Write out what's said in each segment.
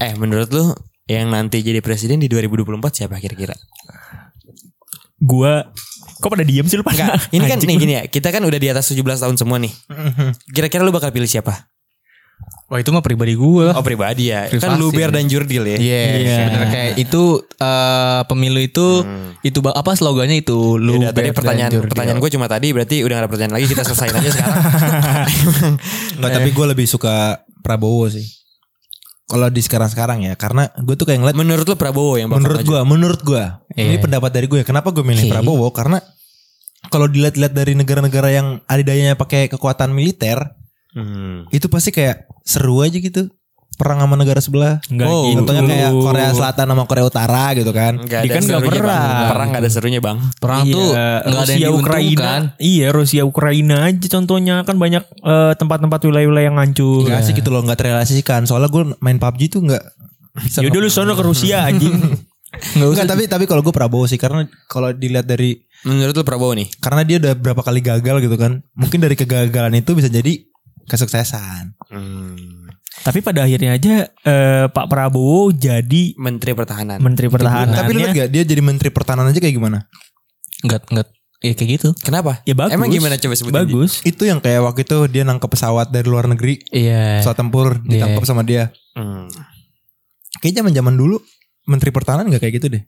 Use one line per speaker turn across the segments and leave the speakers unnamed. Eh menurut lu yang nanti jadi presiden di 2024 siapa kira-kira?
Gua kok pada diem sih lu pada.
Enggak, ini kan
Anjing Mm-hmm.
nih
lu.
gini ya, kita kan udah di atas 17 tahun semua nih. Kira-kira lu bakal pilih siapa?
Wah itu mah pribadi gue lah.
Oh pribadi ya, kan
Privasi.
Luber dan Jurdil ya.
Iya,
Iya.
bener kayak itu eh, pemilu itu itu ba- apa slogannya itu lu
Hmm. Yaudah, tadi pertanyaan pertanyaan gue cuma tadi berarti udah gak ada pertanyaan lagi kita selesaiin aja sekarang.
Nggak, tapi gue lebih suka Prabowo sih. Kalau di sekarang-sekarang ya, karena gue tuh kayak ngeliat
Menurut lu Prabowo yang bakal
menurut
maju?
gue, menurut gue, ini
Iya.
pendapat dari gue. Kenapa gue milih
Oke.
Prabowo? Karena kalau dilihat-lihat dari negara-negara yang adidayanya pakai kekuatan militer,
Hmm.
itu pasti kayak seru aja gitu. Perang sama negara sebelah.
Nggak
oh,
gitu.
contohnya kayak Korea Selatan sama Korea Utara gitu kan.
Nggak
Dia
ada
kan nggak
serunya, Bang.
perang.
Perang gak ada serunya bang.
perang
Iya,
tuh nggak ada
Rusia
yang
Ukraina.
diuntungkan.
Iya, Rusia Ukraina aja contohnya kan banyak eh, tempat-tempat wilayah-wilayah yang hancur.
Gak asik gitu loh, gak terrealisasikan. Soalnya gue main PUBG tuh gak... bisa
Yaudah Ya lu sono ke Rusia anjing.
Nggak usah.
Enggak, tapi tapi kalau gue Prabowo sih karena kalau dilihat dari
Menurut lu Prabowo nih?
karena dia udah berapa kali gagal gitu kan. Mungkin dari kegagalan itu bisa jadi kesuksesan.
Tapi pada akhirnya aja eh, Pak Prabowo jadi
Menteri Pertahanan.
Menteri Pertahanan.
Tapi lu lihat gak dia jadi menteri pertahanan aja kayak gimana?
nggak nggak ya kayak gitu.
Kenapa?
ya bagus.
Emang gimana coba sebutin?
Bagus.
Itu yang kayak waktu itu dia nangkep pesawat dari luar negeri,
Iya.
pesawat tempur ditangkap sama dia.
Hmm.
Kayaknya zaman-zaman dulu menteri pertahanan gak kayak gitu deh.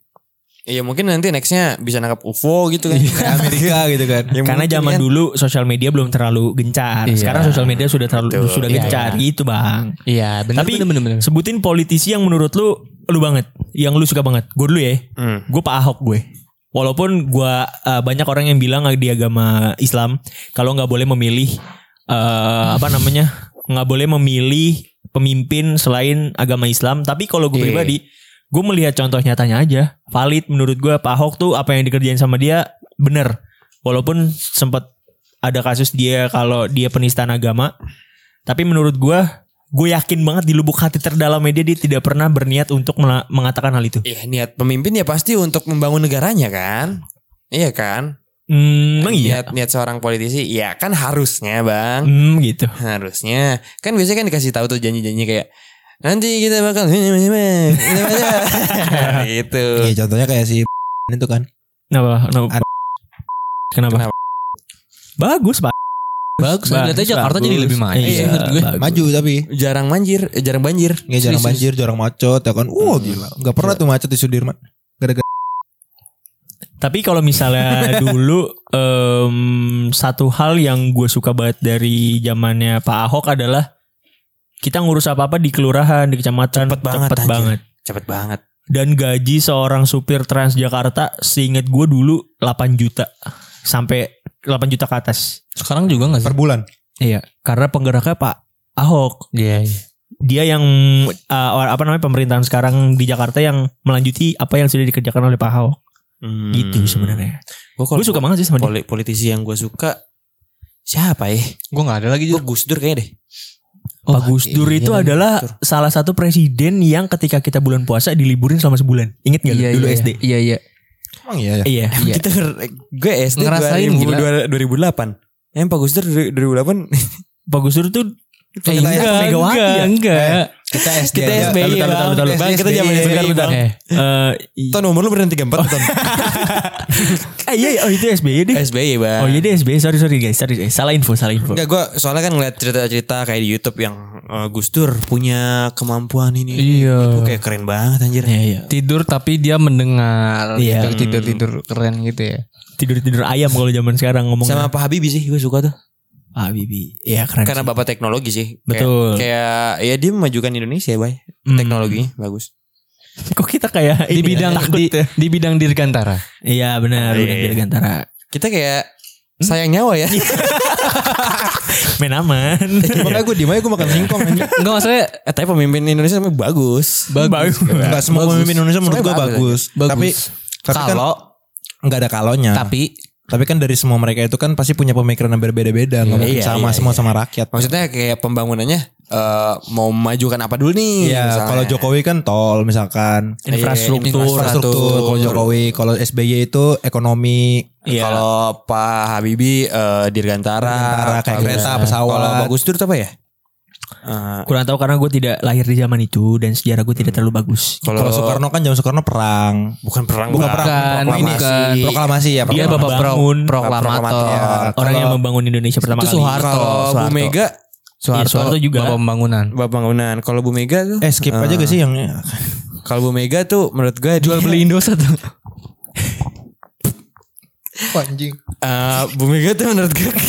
Iya mungkin nanti nextnya bisa nangkap UFO gitu
Iya.
kan.
Kayak Amerika gitu kan.
Ya,
Karena
mungkin
zaman
kan.
dulu sosial media belum terlalu gencar.
Iya.
Sekarang sosial media sudah terlalu
Betul.
sudah
Iya,
gencar
iya.
gitu, Bang.
Iya benar
Tapi-
benar benar benar.
Sebutin politisi yang menurut lu lu banget, yang lu suka banget. Gue dulu ya.
Hmm.
Gue Pak Ahok gue. Walaupun gue eh, banyak orang yang bilang di agama Islam kalau nggak boleh memilih eh, apa namanya nggak boleh memilih pemimpin selain agama Islam. Tapi kalau gue
Iya.
pribadi gue melihat contoh nyatanya aja valid menurut gue Pak Ahok tuh apa yang dikerjain sama dia bener. Walaupun sempat ada kasus dia kalau dia penistaan agama. Tapi menurut gue gue yakin banget di lubuk hati terdalamnya dia dia tidak pernah berniat untuk mela- mengatakan hal itu.
Iya niat pemimpin ya pasti untuk membangun negaranya kan. Iya kan?
Hmm, emang iya.
Niat, niat seorang politisi ya kan harusnya bang.
Hmm, gitu.
Harusnya. Kan biasanya kan dikasih tahu tuh janji-janji kayak nanti kita bakal gitu.
Iya, contohnya kayak si itu kan.
Kenapa? Kenapa?
Ada-
Kenapa?
Kenapa?
Bagus, Pak.
Bagus. Kelihatannya
Bagus,
Jakarta jadi
bagus.
lebih maju.
Iya,
sih Nah, menurut gue.
bagus.
Maju tapi
Jarang banjir, eh, jarang banjir.
nggak Iya, jarang
Serius,
banjir, jarang macet ya kan. Wow gila. Gak pernah tuh macet di Sudirman. Gara-gara
Tapi kalau misalnya dulu em, satu hal yang gue suka banget dari zamannya Pak Ahok adalah kita ngurus apa-apa di kelurahan, di kecamatan,
Cepet banget,
cepet
anjir.
banget.
Cepet banget.
Dan gaji seorang supir Transjakarta seinget gue dulu 8 juta sampai 8 juta ke atas.
Sekarang juga nggak sih?
per bulan.
Iya, karena penggeraknya Pak Ahok.
Iya. iya.
dia yang uh, apa namanya pemerintahan sekarang di Jakarta yang melanjuti apa yang sudah dikerjakan oleh Pak Ahok
Hmm.
gitu sebenarnya.
Gue
Gue suka banget sih sama dia.
poli- politisi yang gue suka siapa ya?
Gue nggak ada lagi
Gue
juga.
Gus Dur kayaknya deh.
Oh,
Pak Gus
iya,
Dur itu adalah salah satu presiden yang ketika kita bulan puasa diliburin selama sebulan. Ingat gak lu
Iya,
dulu
iya,
SD?
Iya iya.
Emang iya ya.
Iya.
Iya.
Kita nger- gue SD
Ngerasain,
2000 2008. Emang Pak Gus Dur dari- 2008
Pak Gus Dur tuh
Eh,
enggak,
enggak,
Megawati ya?
enggak.
Kita SD.
Kita
aja.
SBY,
Tahu, tahu,
Bang.
tahu, tahu.
Bang, kita
Iya,
zaman
SBY.
SBY, Bang.
Eh,
Eh, i-
Tahun umur lu beneran 34 tahun.
eh, iya, iya. oh itu SBY deh.
SBY bang.
Oh iya deh SBY, sorry sorry guys, sorry, eh, salah info, salah info.
Enggak gue soalnya kan ngeliat cerita-cerita kayak di YouTube yang eh, Gus Dur punya kemampuan ini.
Iya.
Itu kayak keren banget anjir.
Iya iya.
Tidur tapi dia mendengar. gitu.
Iya.
Tidur tidur keren gitu ya.
Tidur tidur ayam kalau zaman sekarang ngomongnya.
Sama Pak Habibie sih gue suka tuh.
Pak Bibi, iya keren.
Karena
sih.
bapak teknologi sih. Kayak-
Betul.
Kayak, ya dia memajukan Indonesia bay.
Hmm.
Teknologinya bagus.
Kok kita kayak
Di
ini ya,
bidang
takut
di,
ya?
di bidang dirgantara.
Iya benar,
Iya,
udah
iya.
dari Gantara.
Kita kayak sayang nyawa ya.
Main aman.
Makanya gue diem aja gue makan singkong anjing.
Enggak maksudnya
Eh, tapi pemimpin Indonesia namanya bagus.
bagus.
Gitu
Enggak semua
Bagus.
pemimpin Indonesia menurut
Semuanya
gue
bagus
bagus.
Bagus.
Tapi tapi kan
Kalau
nggak ada kalonya. Tapi,
tapi
kan dari semua mereka itu kan pasti punya pemikiran yang berbeda-beda, nggak mungkin
Iya, iya,
sama semua sama rakyat.
Maksudnya kayak pembangunannya eh, mau majukan apa dulu nih?
Iya,
misalnya.
kalau Jokowi kan tol misalkan.
Iya,
Infrastruktur.
Infrastruktur kalau Jokowi, kalau SBY itu ekonomi.
Iya.
Kalau Pak Habibie eh, Dirgantara,
Dirgantara, kayak
Pak
kereta,
Gus-
pesawat.
Kalau Pak Gus Dur itu apa ya? eh,
Kurang tahu karena gue tidak lahir di zaman itu dan sejarah gue tidak terlalu bagus.
Kalau Soekarno kan zaman Soekarno perang.
bukan perang
Bukan
Bang.
Bukan,
perang, proklamasi.
bukan.
Proklamasi ya,
Dia
proklamasi.
Dia
bapak pro,
membangun-
proklamator.
Proklamator.
Orang yang membangun Indonesia pertama
itu
kali.
Soeharto.
Kalau Bu
Soeharto.
Mega
Soeharto,
Iya, Soeharto juga.
Bapak pembangunan.
Bapak bangunan. Kalau Bu Mega tuh
Eh skip aja gak sih yang
ya?
kalau Bu Mega tuh menurut gue
Jual beli Indosat.
anjing.
Eh, Bu Mega tuh menurut gue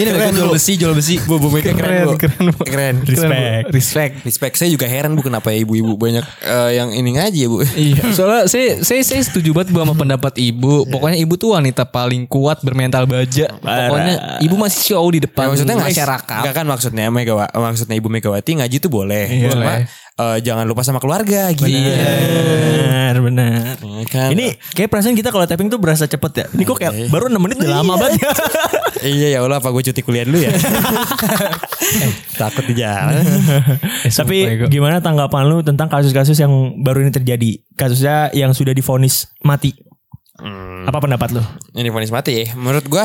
Ini mereka jual besi, jual besi.
Bu, Bu Mega keren, Bu. keren,
Respect.
Respect.
Respect saya juga heran bu kenapa ya ibu-ibu banyak eh, yang ini ngaji ya bu.
Iya. Soalnya saya saya saya setuju banget gua sama pendapat ibu. Pokoknya ibu tuh wanita paling kuat bermental baja. Pokoknya ibu masih show di depan
Ya, maksudnya nggak-
masyarakat.
nggak kan maksudnya Megawa, maksudnya Ibu Megawati ngaji tuh boleh.
Iya.
Cuma eh, jangan lupa sama keluarga gitu.
Benar, benar.
Iya kan?
Ini kayak perasaan kita kalau tapping tuh berasa cepet ya. Ini kok kayak baru 6 menit udah lama banget ya.
Iya ya Allah apa gue cuti kuliah dulu ya. Eh, Takut di jalan.
Tapi gimana tanggapan lu tentang kasus-kasus yang baru ini terjadi? Kasusnya yang sudah difonis mati. Apa pendapat lu?
Hmm, ini vonis mati ya. Menurut gue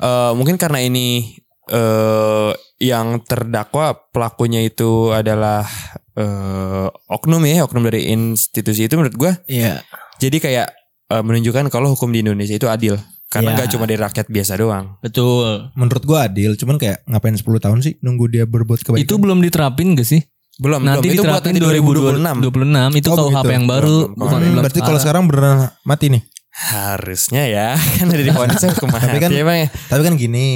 eh, mungkin karena ini eh yang terdakwa pelakunya itu adalah eh oknum ya oknum dari institusi itu menurut gue
Iya.
Jadi kayak eh, menunjukkan kalau hukum di Indonesia itu adil. Karena
Iya.
nggak cuma dari rakyat biasa doang.
Betul.
Menurut gua adil, cuman kayak ngapain 10 tahun sih nunggu dia berbuat kebaikan.
Itu belum diterapin gak sih?
Belum,
nanti
belum. Itu buat
diterapin
nanti 2026.
itu
Oh,
KUHP
begitu.
yang baru.
Belum,
bukan
Hmm,
19
berarti kalau
parah.
sekarang beneran mati nih.
Harusnya ya. Kan dari vonisnya hukum mati.
Tapi kan-
ya, Bang, ya.
Tapi kan gini,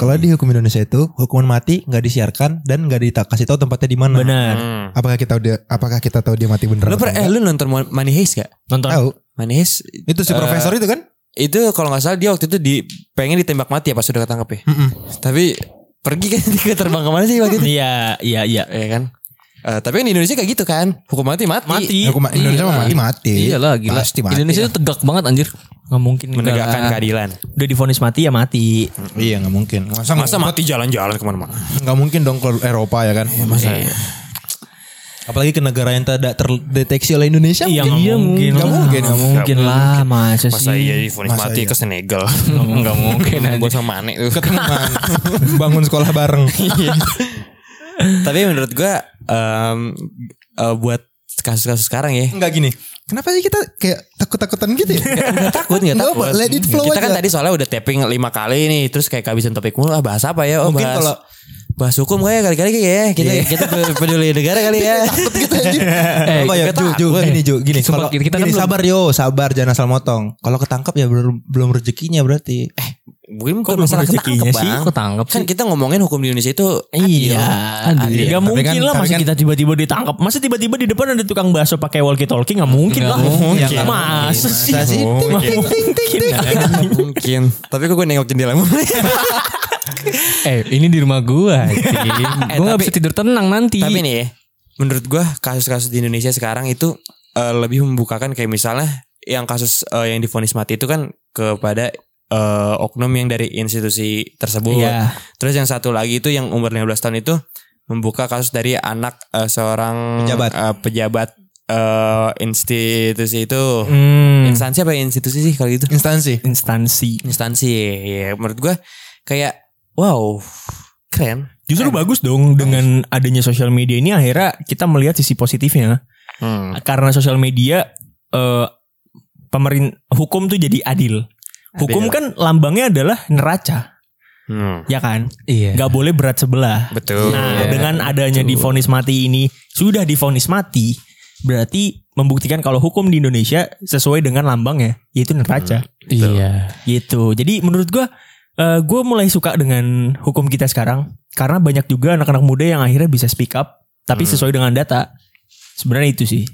kalau di hukum Indonesia itu hukuman mati nggak disiarkan dan nggak dikasih tahu tempatnya di mana.
Benar.
Hmm.
Apakah kita udah apakah kita tahu dia mati beneran?
Lu, per,
atau
eh,
enggak?
lu nonton Mon- Money Heist gak?
Nonton.
tahu.
Money Heist
Itu si
Eh,
profesor itu kan?
itu kalau nggak salah dia waktu itu di pengen ditembak mati ya pas sudah ketangkep ya.
Mm-mm.
Tapi pergi kan dia ke terbang kemana sih waktu itu?
Iya, iya, iya.
Iya kan? Eh, tapi kan di Indonesia kayak gitu kan. Hukum mati mati.
Mati.
Hukum Indonesia mah mati mati.
Iya
Iyalah Iya gila.
Iya Pasti mati.
Indonesia itu tegak banget anjir.
Nggak mungkin nggak.
Menegakkan keadilan.
udah difonis mati ya mati.
Iya nggak mungkin. Masa
Masa mati jalan-jalan kemana-mana.
nggak mungkin dong ke Eropa ya kan?
Iya, Masa
Apalagi ke negara yang tidak terdeteksi oleh Indonesia.
Iya
mungkin.
nggak mungkin.
Nggak mungkin.
Nggak mungkin lah masa
masa
sih.
iya difonis
Masa
mati
iya?
ke Senegal. Enggak mungkin Gue sama Mane tuh.
Ketemuan. Bangun sekolah bareng.
Iya. Tapi menurut gua em, eh, buat kasus-kasus sekarang ya
Enggak gini. Kenapa sih kita kayak takut-takutan gitu ya?
Gak takut gak
Nggak
takut
apa, let it flow
Kita kan
aja.
tadi soalnya udah tapping lima kali nih Terus kayak kehabisan topik mulu Ah bahas apa ya oh,
Mungkin
bahas,
kalau-
Bahas hukum kayak kali-kali kayak ya Kita, kita peduli negara kali ya
Takut kita aja.
Eh,
Apa ya?
kita
Ju, Ju,
takut.
gini Ju, gini.
Sumpah,
Kalau
kita- kita kan
gini,
belum-
sabar yo, sabar jangan asal motong. Kalau ketangkap ya belum belum rezekinya berarti. Eh,
Mungkin bukan
belum
masalah
rezekinya
ketangkep
sih?
bang
Kok tangkap
Kan
sih?
kita ngomongin hukum di Indonesia itu adil.
Iya,
Adil.
nggak
Tapi
mungkin
kan-
lah
tapi
masa
kan-
kita tiba-tiba ditangkap. Masa tiba-tiba di depan ada tukang bakso pakai walkie talkie nggak mungkin
Nggak
lah.
mungkin.
Masa, sih?
Masa sih?
Nggak
Ting, ting, ting, ting, ting.
Mungkin Tapi kok gue nengok jendela mulu?
Eh ini di rumah gua. Gue gak bisa tidur tenang nanti.
Tapi
Iya.
nih ya, menurut gua kasus-kasus di Indonesia sekarang itu eh, lebih membukakan kayak misalnya yang kasus eh, yang difonis mati itu kan kepada eh, oknum yang dari institusi tersebut.
Iya.
Terus yang satu lagi itu yang umur 15 tahun itu membuka kasus dari anak eh, seorang
Pejabat.
eh, pejabat eh, institusi itu.
Hmm,
Instansi apa ya? institusi sih kalau gitu?
Instansi.
instansi.
Instansi. Ya, menurut gua kayak wow, keren.
Justru bagus dong dengan adanya sosial media ini akhirnya kita melihat sisi positifnya. Karena sosial media eh pemerin hukum tuh jadi adil.
Adil.
Hukum kan lambangnya adalah neraca,
Hmm.
ya kan?
Iya.
Gak boleh berat sebelah.
Betul.
Nah,
Iya,
dengan adanya
betul.
difonis mati ini sudah difonis mati, berarti membuktikan kalau hukum di Indonesia sesuai dengan lambangnya, yaitu neraca.
Iya.
Gitu. Jadi menurut gua eh, gua mulai suka dengan hukum kita sekarang karena banyak juga anak-anak muda yang akhirnya bisa speak up tapi
Hmm.
sesuai dengan data. Sebenarnya itu sih.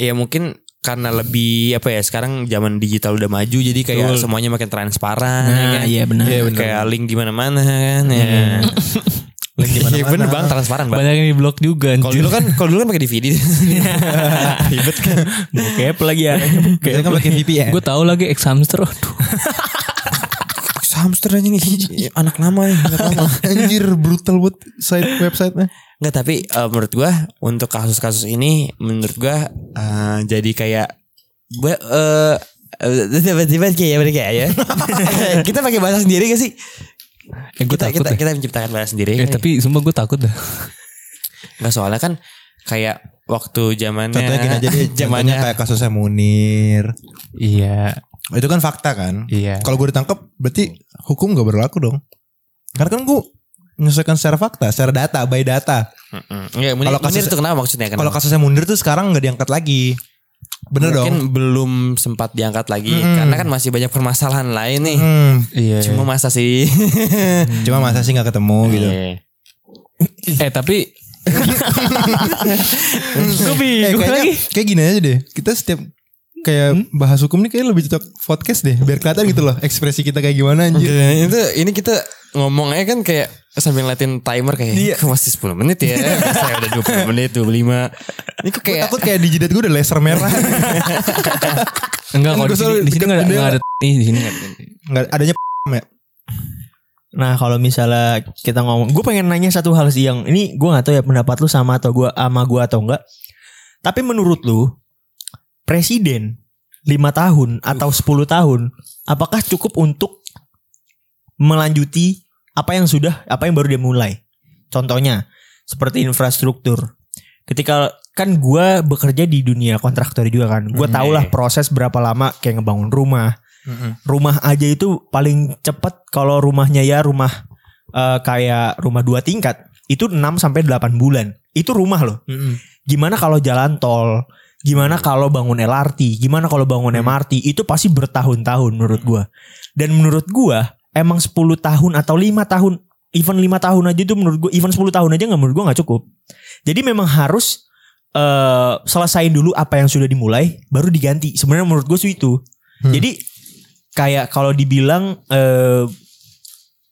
Ya mungkin karena lebih apa ya sekarang zaman digital udah maju jadi kayak
Betul.
semuanya makin transparan ya
Nah,
kan?
iya benar. Iya.
Iya, bener. kayak link di mana-mana kan ya.
Link di
Iya,
mana-mana.
bener bang transparan bang.
Banyak yang di blok juga.
Kalau dulu kan kalau dulu kan pakai DVD. Ribet kan.
Bokep lagi ya.
Biasanya kan pakai VPN.
Gue tahu lagi ex hamster. Aduh.
Hamster aja nih anak lama ya, anak lama.
Anjir brutal buat site websitenya.
Nggak tapi eh, menurut gua untuk kasus-kasus ini menurut gua eh, jadi kayak gua eh, eh, tiba-tiba kayak ya mereka ya. Kita pakai bahasa sendiri gak sih?
Eh, gue
kita
takut
kita,
deh.
kita menciptakan bahasa sendiri.
Eh, tapi sumpah gue takut dah.
nggak soalnya kan kayak waktu zamannya
Contohnya gini aja deh,
zamannya
contohnya kayak kasusnya Munir.
Iya,
Itu kan fakta kan?
iya.
Kalau gue ditangkap berarti hukum gak berlaku dong. Karena kan gue menyelesaikan secara fakta, secara data, by data.
Mm-mm. Nggak, Munir,
Kalau kasus-
Munir itu kenapa maksudnya kenapa?
Kalau kasusnya mundur tuh sekarang nggak diangkat lagi. Bener
Mungkin
dong.
belum sempat diangkat lagi
Mm-mm.
karena kan masih banyak permasalahan lain nih.
Hmm,
Iya.
Cuma masa sih.
Cuma masa sih nggak ketemu gitu.
Iya.
eh tapi
Gue
Eh,
bingung
kayaknya
lagi.
kayak gini aja deh. Kita setiap kayak bahas hukum nih kayak lebih cocok podcast deh. Biar kelihatan gitu loh ekspresi kita kayak gimana anjir.
Oke, Iya, itu ini kita ngomongnya kan kayak sambil ngeliatin timer kayak "Kok masih 10 menit ya. Saya udah 20 menit, 25. Ini kok
Gue
kayak
takut kayak di jidat gue udah laser merah.
enggak
Kan
kalau
gua
di
selalu
sini di sini
bidang
enggak ada enggak
bendera.
ada ini di sini. nggak ada.
Nggak adanya ya.
Nah kalau misalnya kita ngomong, gue pengen nanya satu hal sih yang ini gue nggak tahu ya pendapat lu sama atau gua sama gue atau enggak. Tapi menurut lu presiden 5 tahun atau 10 tahun, apakah cukup untuk melanjuti apa yang sudah, apa yang baru dia mulai? Contohnya seperti infrastruktur. Ketika kan gue bekerja di dunia kontraktor juga kan, gue
Hmm,
tau lah
iya.
proses berapa lama kayak ngebangun rumah, rumah aja itu paling cepat kalau rumahnya ya rumah eh, kayak rumah dua tingkat itu 6 sampai 8 bulan. Itu rumah loh. Gimana kalau jalan tol? Gimana kalau bangun LRT? Gimana kalau bangun MRT? Itu pasti bertahun-tahun menurut gua. Dan menurut gua emang 10 tahun atau 5 tahun, even 5 tahun aja itu menurut gua, even 10 tahun aja nggak menurut gua nggak cukup. Jadi memang harus eh selesain dulu apa yang sudah dimulai baru diganti. Sebenarnya menurut gue sih itu.
Hmm.
Jadi kayak kalau dibilang eh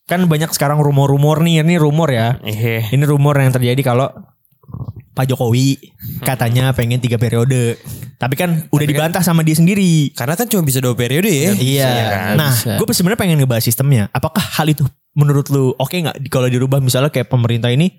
kan banyak sekarang rumor-rumor nih, ini rumor ya.
Iya.
Ini rumor yang terjadi kalau Pak Jokowi katanya pengen tiga periode. Tapi kan udah dibantah sama dia sendiri.
Karena kan cuma bisa dua periode ya.
Iya.
kan?
Nah,
Bisa.
gue sebenarnya pengen ngebahas sistemnya. Apakah hal itu menurut lu oke nggak di- kalau dirubah misalnya kayak pemerintah ini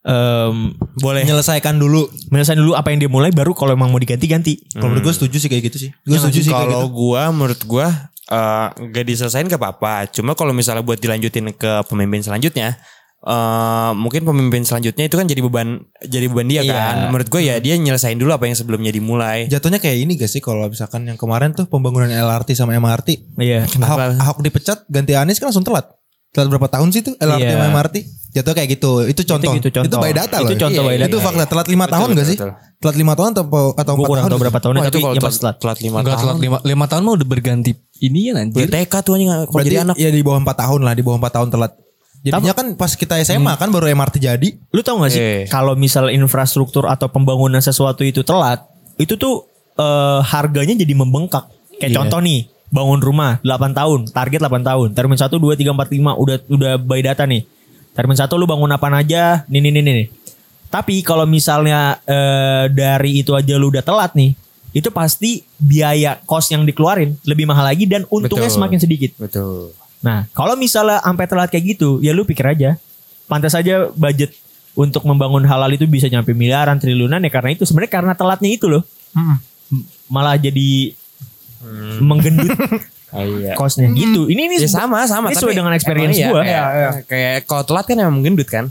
em
boleh.
Menyelesaikan dulu.
menyelesaikan dulu apa yang dia mulai baru kalau emang mau diganti ganti.
Kalau menurut gue setuju sih kayak gitu sih. Gue
Yang
setuju sih kayak
Iya, kalau
gitu.
gua menurut gua eh, nggak diselesain gak apa-apa. Cuma kalau misalnya buat dilanjutin ke pemimpin selanjutnya eh mungkin pemimpin selanjutnya itu kan jadi beban jadi beban dia
Iya.
kan. Menurut gua ya dia nyelesain dulu apa yang sebelumnya dimulai.
Jatuhnya kayak ini gak sih kalau misalkan yang kemarin tuh pembangunan LRT sama MRT.
Iya.
Ahok, Ahok dipecat ganti Anies kan langsung telat. Telat berapa tahun sih itu LRT
Iya.
sama MRT? Jatuh kayak gitu. Itu contoh.
gitu, contoh.
Itu by data
Itu
loh.
contoh by data.
Itu fakta. Telat 5 tahun
betul,
gak sih?
betul.
Telat 5 tahun atau atau
Gue
4
kurang
tahun?
tahu berapa tahunnya
Wah, itu
tapi
kalau
yang pasti telat.
telat, telat lima
Enggak telat
tahun.
lima, lima tahun mah udah berganti ini ya
Udah
anjir.
TK tuh anjing kalau
Berarti
jadi anak.
ya di bawah 4 tahun lah. Di bawah 4 tahun telat. Jadinya kan pas kita SMA kan baru MRT jadi.
Lu tau gak sih
Iya.
kalau misal infrastruktur atau pembangunan sesuatu itu telat, itu tuh eh, harganya jadi membengkak. Kayak
Iya.
contoh nih, bangun rumah 8 tahun, target 8 tahun. Termin 1 2 3 4 5 udah udah by data nih. Termin 1 lu bangun apa aja, nih nih nih nih. nih. Tapi kalau misalnya eh, dari itu aja lu udah telat nih, itu pasti biaya cost yang dikeluarin lebih mahal lagi dan untungnya
Betul.
semakin sedikit.
Betul.
Nah, kalau misalnya sampai telat kayak gitu, ya lu pikir aja. Pantas aja budget untuk membangun halal itu bisa nyampe miliaran, triliunan ya karena itu sebenarnya karena telatnya itu loh.
Hmm.
M- Malah jadi menggendut
Iya.
costnya gitu. Ini ini
Hmm. Ya
sebe-
sama sama
Ini sesuai dengan experience
emang iya,
gua.
Kayak, kayak kalau telat kan emang gendut kan.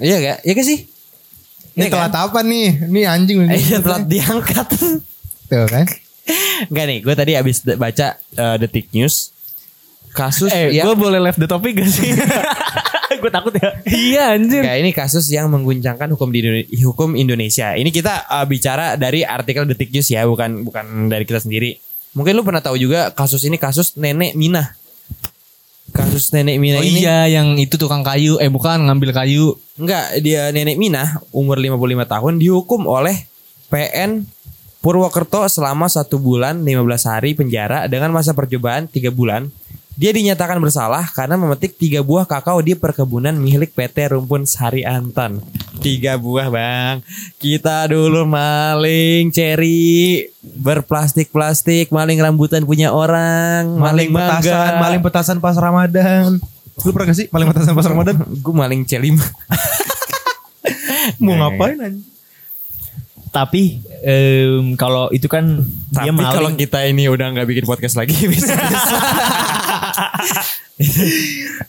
Iya gak? Iya gak sih?
Ini
Iya
telat apa nih? Ini anjing.
Iya telat diangkat.
Tuh kan.
Enggak nih, gue tadi abis de- baca eh, detik news kasus
Eh,
yang
gue boleh left the topic gak sih?
gue takut ya.
iya anjir.
Enggak, ini kasus yang mengguncangkan hukum di Indone- hukum Indonesia. Ini kita eh, bicara dari artikel detik news ya, bukan bukan dari kita sendiri. Mungkin lu pernah tahu juga kasus ini kasus nenek Minah. Kasus nenek Minah
Oh
ini
iya yang itu tukang kayu eh bukan ngambil kayu
Enggak, dia nenek Minah umur 55 tahun dihukum oleh PN Purwokerto selama satu bulan 15 hari penjara dengan masa percobaan 3 bulan. Dia dinyatakan bersalah karena memetik tiga buah kakao di perkebunan milik PT Rumpun Sari Antan. Tiga buah bang. Kita dulu maling ceri berplastik-plastik, maling rambutan punya orang, maling,
Maling petasan. Maling petasan pas Ramadan. Lu pernah gak sih maling petasan pas Ramadan?
Gue maling ceri.
Mau ngapain anjing?
Tapi em, kalau itu kan dia
Tapi
maling.
kalau kita ini udah nggak bikin podcast lagi bisa.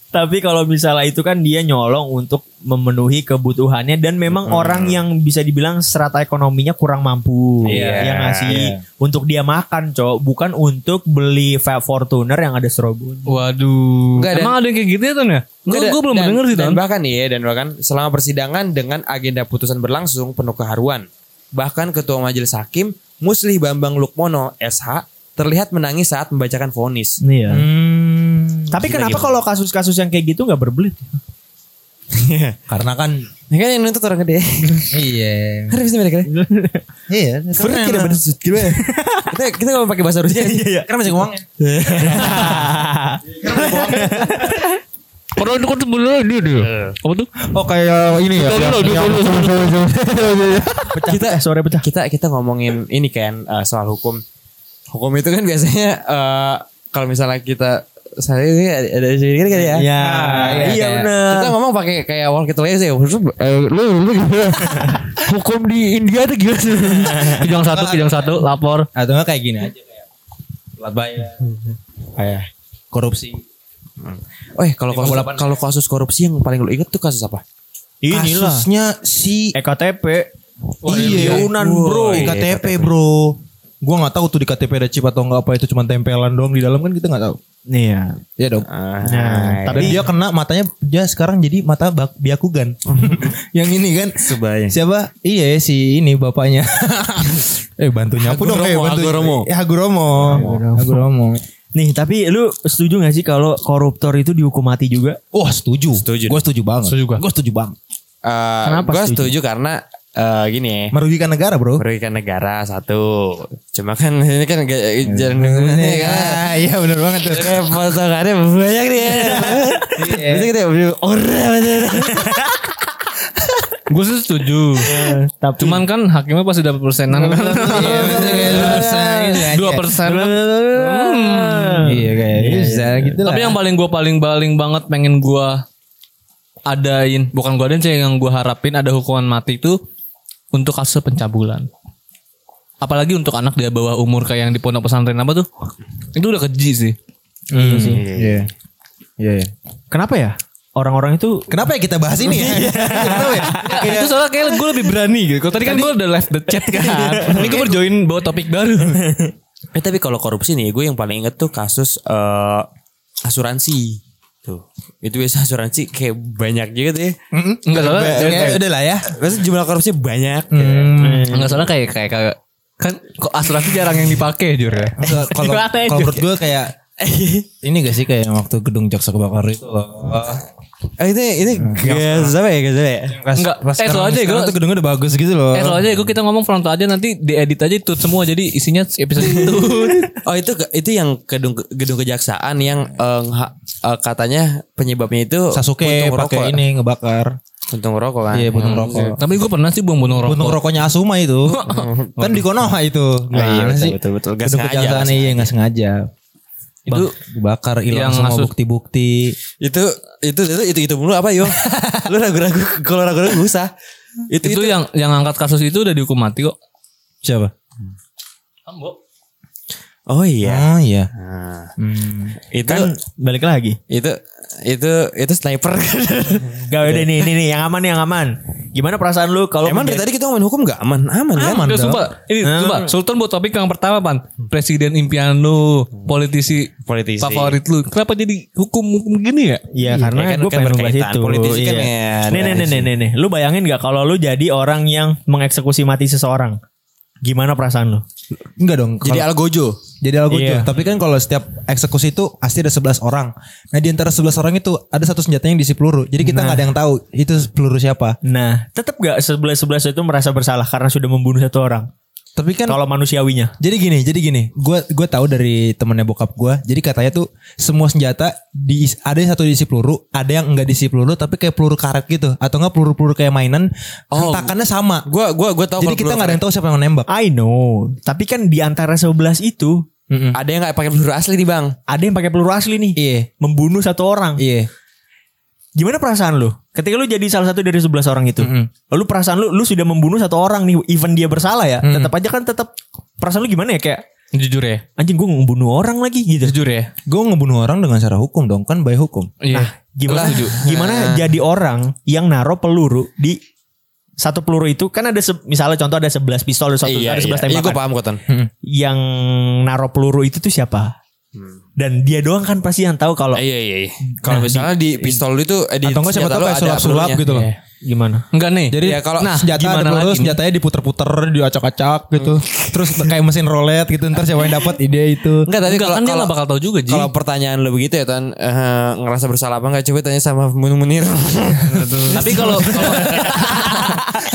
Tapi kalau misalnya itu kan dia nyolong untuk memenuhi kebutuhannya dan memang orang yang bisa dibilang serata ekonominya kurang mampu
Iya.
yang ngasih untuk dia makan, cok, bukan untuk beli Fab Fortuner yang ada strobun.
Waduh.
Enggak, dan-
Emang ada yang kayak gitu ya Ton ya?
Nggak,
Gue gue
dan-
belum
dan-
denger sih
dan
Ton.
bahkan iya dan bahkan selama persidangan dengan agenda putusan berlangsung penuh keharuan. Bahkan ketua majelis hakim Muslih Bambang Lukmono SH terlihat menangis saat membacakan vonis.
Iya.
Hmm.
Tapi
Gila,
kenapa
gila.
kalau kasus-kasus yang kayak gitu nggak berbelit?
Karena kan
Ya kan yang nuntut orang gede.
iya.
Harus bisa mereka.
Iya,
Sebenarnya kita
karena,
bersud gimana? kita kita nggak mau pakai bahasa Rusia.
karena masih uang.
Orang itu kan sebenernya dia dia. Apa tuh?
Oh kayak ini ya.
Dulu, dulu, dulu.
kita
Sore pecah.
kita kita ngomongin ini kan eh, soal hukum. Hukum itu kan biasanya eh, kalau misalnya kita saya ini ada ada sendiri kan ya.
Iya,
iya,
iya
kayak-
bener.
Kita ngomong pakai kayak walkie talkie sih. Maksudnya, eh, Lu lu gimana?
Hukum di India tuh gimana sih? Kijang satu, kijang satu, lapor.
Atau enggak kayak gini aja kayak telat bayar,
Kayak
korupsi.
Eh kalau kasus, kalau kasus korupsi yang paling lu inget tuh kasus apa?
Inilah E
Kasusnya si iya.
EKTP.
Yunan bro, KTP bro. Gua nggak tahu tuh di KTP ada chip atau enggak apa itu cuma tempelan doang di dalam kan kita nggak tahu.
Iya.
Iya dong.
Nah,
Tapi Eh, dia kena matanya dia sekarang jadi mata bak, biakugan. yang ini kan
sebaya.
siapa? Iya si ini bapaknya. eh bantu nyapu dong. eh,
Haguromo,
bantu,
Haguromo.
Eh, Haguromo. Haguromo.
Nih tapi lu setuju gak sih kalau koruptor itu dihukum mati juga?
Wah Oh, setuju.
Setuju.
Gue setuju banget.
Setuju gua.
Gue setuju banget.
Kenapa? Gue Ah, setuju karena eh, gini ya.
Merugikan negara bro.
merugikan negara satu cuma kan ini kan ga- jalan
Hmm.
ini kan
Ah, Iya bener banget tuh.
Eh,
Ini potongannya banyak nih ya. Itu kita beli orang bener.
Gue sih setuju.
Iya,
Tapi
Cuman kan hakimnya pasti dapat persenan kan. Dua persen.
Iya kayak bisa gitu lah.
Tapi yang paling gue paling paling banget pengen gue adain, bukan gue adain sih yang gue harapin ada hukuman mati itu untuk kasus pencabulan. Apalagi untuk anak di bawah umur kayak yang di pondok pesantren apa tuh? Itu udah keji sih.
Iya. Iya. iya.
kenapa ya? Orang-orang itu
Kenapa ya kita bahas ini ya? Kenapa ya?
itu soalnya kayak gue lebih berani gitu. Tadi kan gue udah left the chat
Iya.
kan. Ini gue berjoin bawa topik baru.
Eh tapi kalau korupsi nih gue yang paling inget tuh kasus eh, asuransi. Tuh. Itu biasa asuransi kayak banyak juga tuh ya.
Enggak salah.
Oke, Udah lah ya.
Maksudnya jumlah korupsi banyak.
Hmm.
Enggak salah kayak kayak kayak kan kok asuransi jarang yang dipakai jur ya.
Kalau kalau
Gimana ya,
menurut
Jur?
gue kayak ini gak sih kayak waktu gedung jaksa kebakar itu loh.
Eh, ini ini gas apa ya gas apa ya?
Enggak,
Pas
eh, soalnya
sekarang,
gua-
sekarang tuh gedungnya udah bagus gitu loh.
Eh soalnya gue kita ngomong frontal aja nanti diedit aja itu semua jadi isinya episode itu.
Oh itu ke- itu yang gedung gedung kejaksaan yang eh, ngha- eh, katanya penyebabnya itu
Sasuke
puntung rokok.
pakai ini ngebakar.
Puntung rokok kan.
Iya puntung rokok.
Tapi gue pernah sih buang bunuh rokok.
Puntung rokoknya Asuma itu. kan di Konoha itu.
Ah, iya,
Gimana
betul,
sih?
betul, betul. Gak
Gedung
sengaja,
kejaksaan
gak
iya gak sengaja. Itu bakar
Yang
hilang semua
kasus-
bukti-bukti.
itu itu itu itu itu mulu apa yo lu ragu-ragu kalau ragu-ragu gak usah itu,
itu,
itu
yang yang angkat kasus itu udah dihukum mati kok.
Siapa?
oh iya
Oh iya.
Nah,
Hmm.
itu
balik lagi.
itu itu itu sniper
Gak udah nih, nih, nih, yang aman, yang aman. Gimana perasaan lu kalau
emang dari
menjadi-
tadi kita ngomongin hukum gak aman Oh, aman kan
Udah sumpah. Ini sumpah. Sultan buat topik yang pertama pan. Presiden impian lu, politisi
politisi
favorit lu. Kenapa jadi hukum hukum gini ya?
Iya karena
kan-
gue
kan
pengen ngebahas
berkaitan.
itu.
Politisi kan
iya.
ya,
nih, nih, nih, nih, nih, nih. Lu bayangin gak kalau lu jadi orang yang mengeksekusi mati seseorang? Gimana perasaan lu?
Enggak dong.
jadi
kalau-
algojo
jadi algojo.
Iya.
Tapi kan kalau setiap eksekusi itu pasti ada 11 orang. Nah, di antara 11 orang itu ada satu senjatanya yang diisi peluru. Jadi kita nggak ada yang tahu itu peluru siapa.
Nah, tetap gak sebelas-sebelas itu merasa bersalah karena sudah membunuh satu orang.
Tapi kan
Kalau manusiawinya.
jadi gini, jadi gini. Gua gua tahu dari temennya bokap gua. Jadi katanya tuh semua senjata di ada yang satu diisi peluru, ada yang enggak diisi peluru tapi kayak peluru karet gitu atau enggak peluru-peluru kayak mainan,
Oh.
hentakannya sama.
gua gua gua tahu
Jadi kita nggak ada yang tahu siapa yang nembak.
I know. Tapi kan di antara 11 itu
ada yang nggak pakai peluru asli nih bang
ada yang pakai peluru asli nih.
Iya.
Membunuh satu orang.
Iya.
Gimana perasaan lu? Ketika lu jadi salah satu dari 11 orang itu. Lalu perasaan lu lu sudah membunuh satu orang nih even dia bersalah ya. Tetap aja kan tetap perasaan lu gimana ya kayak
Jujur ya.
Anjing gue ngebunuh orang lagi gitu.
Jujur ya.
Gue ngebunuh orang dengan cara hukum dong kan by hukum.
Iya.
Nah, Gimana gimana jadi orang yang naro peluru di satu peluru itu kan ada se- misalnya contoh ada 11 pistol ada satu
iya,
ada
iya.
11
iya
tembakan.
gue paham Koton.
yang naro peluru itu tuh siapa? Dan dia doang kan pasti yang tahu kalau
Iya iya iya. Kalau misalnya di pistol itu eh, di
Atau enggak siapa
senjata
tahu
lu
kayak
ada
sulap-sulap
pelurunya.
gitu loh.
Eh, gimana?
Enggak nih.
Jadi
Ya, kalau-
nah, senjata
gimana
ada peluru,
lagi nih?
senjatanya eh, diputer-puter, diocok-acak gitu. Terus kayak mesin roulette gitu, ntar siapa yang dapat ide itu.
Enggak tadi
Enggak
kalau
kan dia
kalau-
gak bakal tahu juga Ji.
kalau pertanyaan lu begitu ya Ton eh, ngerasa bersalah apa enggak coba tanya sama Mun- Munir.
tapi kalau kalau-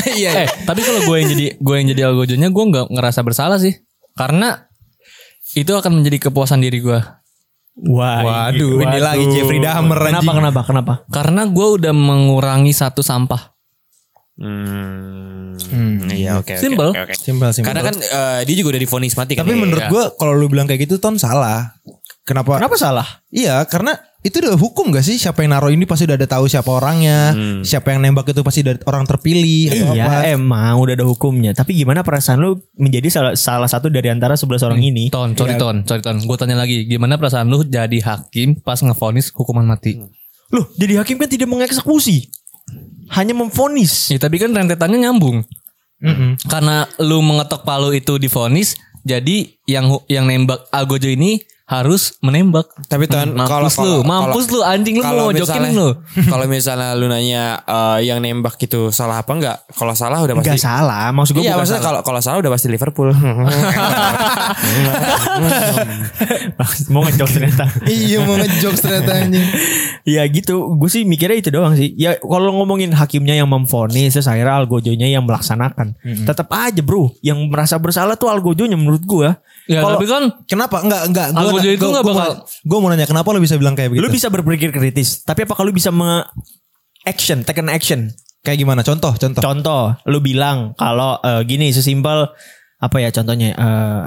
Iya,
Eh, tapi kalau gue yang jadi gue yang jadi algojonya gue nggak ngerasa bersalah sih. Karena itu akan menjadi kepuasan diri gue.
Wah,
Waduh, ini lagi Jeffrey Dahmer
Kenapa
anjing.
kenapa kenapa?
Karena gue udah mengurangi satu sampah.
Hmm. Iya oke. oke,
Simple.
oke, oke.
Simpel simpel.
Karena kan eh, dia juga udah difonis mati kan.
Tapi
ya?
menurut
Iya.
gue kalau lu bilang kayak gitu Ton salah. Kenapa?
Kenapa salah?
Iya, karena itu udah hukum gak sih? Siapa yang naruh ini pasti udah ada tahu siapa orangnya.
Hmm.
Siapa yang nembak itu pasti dari orang terpilih atau apa.
Iya emang udah ada hukumnya. Tapi gimana perasaan lu menjadi salah, salah satu dari antara 11 orang
Hmm,
ini?
Ton,
Iya.
sorry Ton, sorry Ton. Gue tanya lagi, gimana perasaan lu jadi hakim pas ngevonis hukuman mati?
Hmm.
Loh jadi hakim kan tidak mengeksekusi. Hanya memfonis.
Ya tapi kan rentetannya nyambung. Karena lu mengetok palu itu divonis, jadi yang hu- yang nembak algojo ini harus menembak. Hmm,
Tapi Ton
mampus
kalau
lu,
kalau-
mampus lu anjing lu
kalau
mau jokin
misalnya-
lu.
Kalau misalnya lu nanya eh, yang nembak itu salah apa enggak? Kalau salah udah
Gak
pasti
salah. Maksud gue
Iya
bukan
maksudnya
salah.
kalau kalau salah udah pasti Liverpool.
Mau ngejok ternyata.
iya mau ngejokes ternyata anjing.
Ya gitu, gue sih mikirnya itu doang sih. Ya kalau ngomongin hakimnya yang memfonis, terus akhirnya algojonya yang melaksanakan. Tetap aja bro, yang merasa bersalah tuh algojonya menurut gue.
Ya
kalau
tapi kan
Kenapa? Enggak, enggak. Gua-
Algojo itu
gua-
nggak
gua
bakal-
mau- Gua mau nanya kenapa lu bisa bilang kayak
lu
gitu.
begitu?
bisa berpikir kritis, tapi apakah lu bisa me action, take an action?
kayak gimana? Contoh, contoh.
Contoh, lu bilang kalau eh, gini sesimpel apa ya contohnya?
Eh,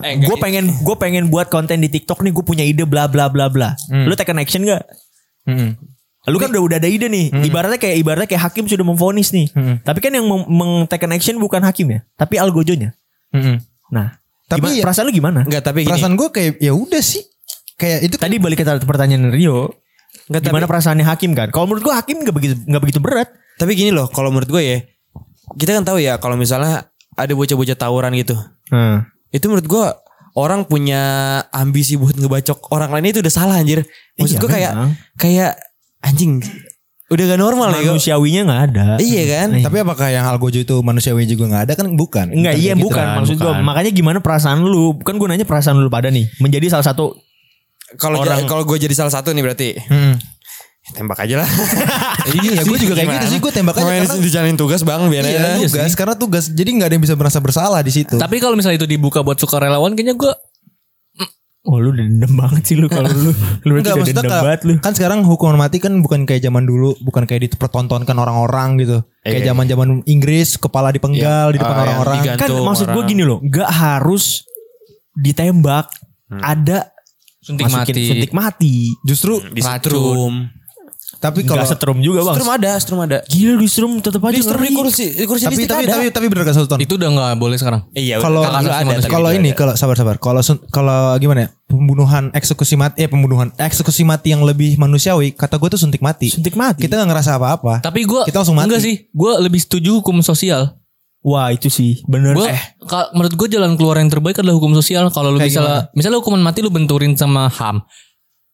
eh
enggak
gue
gitu.
pengen gue pengen buat konten di TikTok nih, gue punya ide bla bla bla bla.
Hmm.
Lu take an action gak?
Mm-mm.
Lu kan udah udah ada ide nih.
Hmm.
Ibaratnya kayak ibaratnya kayak hakim sudah memvonis nih. Tapi kan yang meng, meng- take an action bukan hakim ya, tapi algojonya.
Mm-mm.
Nah,
Tapi
gimana-
ya-
perasaan lu gimana?
Enggak tapi gini.
Perasaan gue kayak ya udah sih. Kayak itu kan-
Tadi balik ke tar- pertanyaan Rio. gimana perasaannya hakim kan? Kalau menurut gua hakim nggak begitu nggak begitu berat.
Tapi gini loh, kalau menurut gue ya, kita kan tahu ya kalau misalnya ada bocah-bocah tawuran gitu.
Hmm.
Itu menurut gue orang punya ambisi buat ngebacok orang lain itu udah salah anjir. Maksud
Iya,
gue kayak
memang.
kayak anjing udah gak normal ya. gua.
Manusiawinya nggak ada.
Iya kan?
tapi apakah yang algojo itu manusiawi juga nggak ada kan bukan?
Enggak, iya
kayak gitu
bukan
kan,
maksud gua.
bukan.
Makanya gimana perasaan lu? Kan gua nanya perasaan lu pada nih menjadi salah satu
Kalau ja-
Orang-
kalau gue jadi salah satu nih berarti
Mm.
tembak aja lah. ya,
Iya, gue juga kayak gitu sih. Gue tembak aja
Main
karena-
dijalanin tugas bang biar
Iya,
aja.
tugas karena tugas jadi nggak ada yang bisa merasa bersalah di situ.
tapi kalau misalnya itu dibuka buat sukarelawan kayaknya gue
Oh lu udah dendam banget sih lu kalau lu lu berarti
Enggak
udah
maksudnya
dendam
kan,
banget lu.
kan sekarang hukuman mati kan bukan kayak zaman dulu, bukan kayak dipertontonkan orang-orang gitu.
Iya.
kayak zaman-zaman Inggris kepala dipenggal di depan
Ah,
orang-orang.
yang
Kan
digantung
maksud gua
orang.
gini loh, nggak harus ditembak. Ada
suntik
masukin
mati.
suntik mati.
Justru
di setrum.
tapi
Nggak
kalau
setrum juga bang.
Setrum ada, setrum ada.
Gila di setrum tetap aja
Di setrum di
ngeri.
kursi, di kursi
tapi
listrik
tapi
ada.
tapi tapi bener gak satu
Itu udah nggak boleh sekarang.
Iya,
kalau
udah,
kalau-
ada, tapi
kalau
juga
ini
ada.
kalau sabar-sabar kalau sun- kalau gimana ya pembunuhan eksekusi mati eh pembunuhan eksekusi mati yang lebih manusiawi kata gue tuh suntik mati
Suntik mati.
kita nggak ngerasa apa-apa
Tapi gue
Kita langsung mati.
enggak sih. Gue lebih setuju hukum sosial.
Wah itu sih bener.
Gue
Eh,
menurut gue jalan keluar yang terbaik adalah hukum sosial. Kalau lu
Kayak
misalnya misalnya hukuman mati lu benturin sama ham.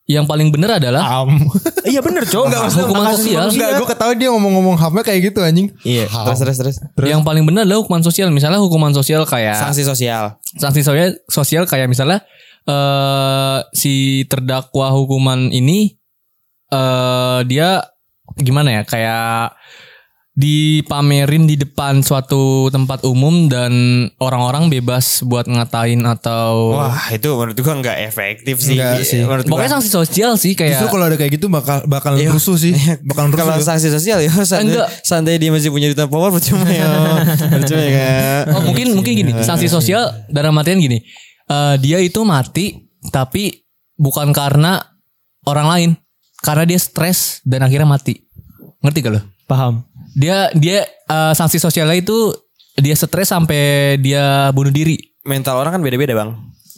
Yang paling bener adalah
am
iya bener cowok.
Enggak, maksudnya hukuman
Makasih
sosial.
manusia.
enggak gue ketahui dia ngomong-ngomong hamnya kayak gitu anjing
Iya, terus terus terus.
yang paling bener adalah hukuman sosial. Misalnya hukuman sosial kayak
Sanksi sosial.
sanksi sosial, sosial kayak misalnya eh si terdakwa hukuman ini eh dia gimana ya kayak dipamerin di depan suatu tempat umum dan orang-orang bebas buat ngatain atau
Wah itu menurut gua Oh. nggak efektif sih.
Nggak sih.
Menurut gua.
pokoknya sanksi sosial sih kayak
Justru kalau ada kayak gitu bakal bakal rusuh sih, bakal rusuh.
kalau
ya.
sanksi sosial ya santai,
Enggak.
santai dia masih punya duta power percuma ya. percuma ya kan.
Oh, mungkin mungkin gini,
Iya,
sanksi sosial dalam artian gini. eh, dia itu mati tapi bukan karena orang lain, karena dia stres dan akhirnya mati. Ngerti gak lo?
Paham.
Dia dia eh, sanksi sosialnya itu dia stres sampai dia bunuh diri.
Mental orang kan beda-beda bang.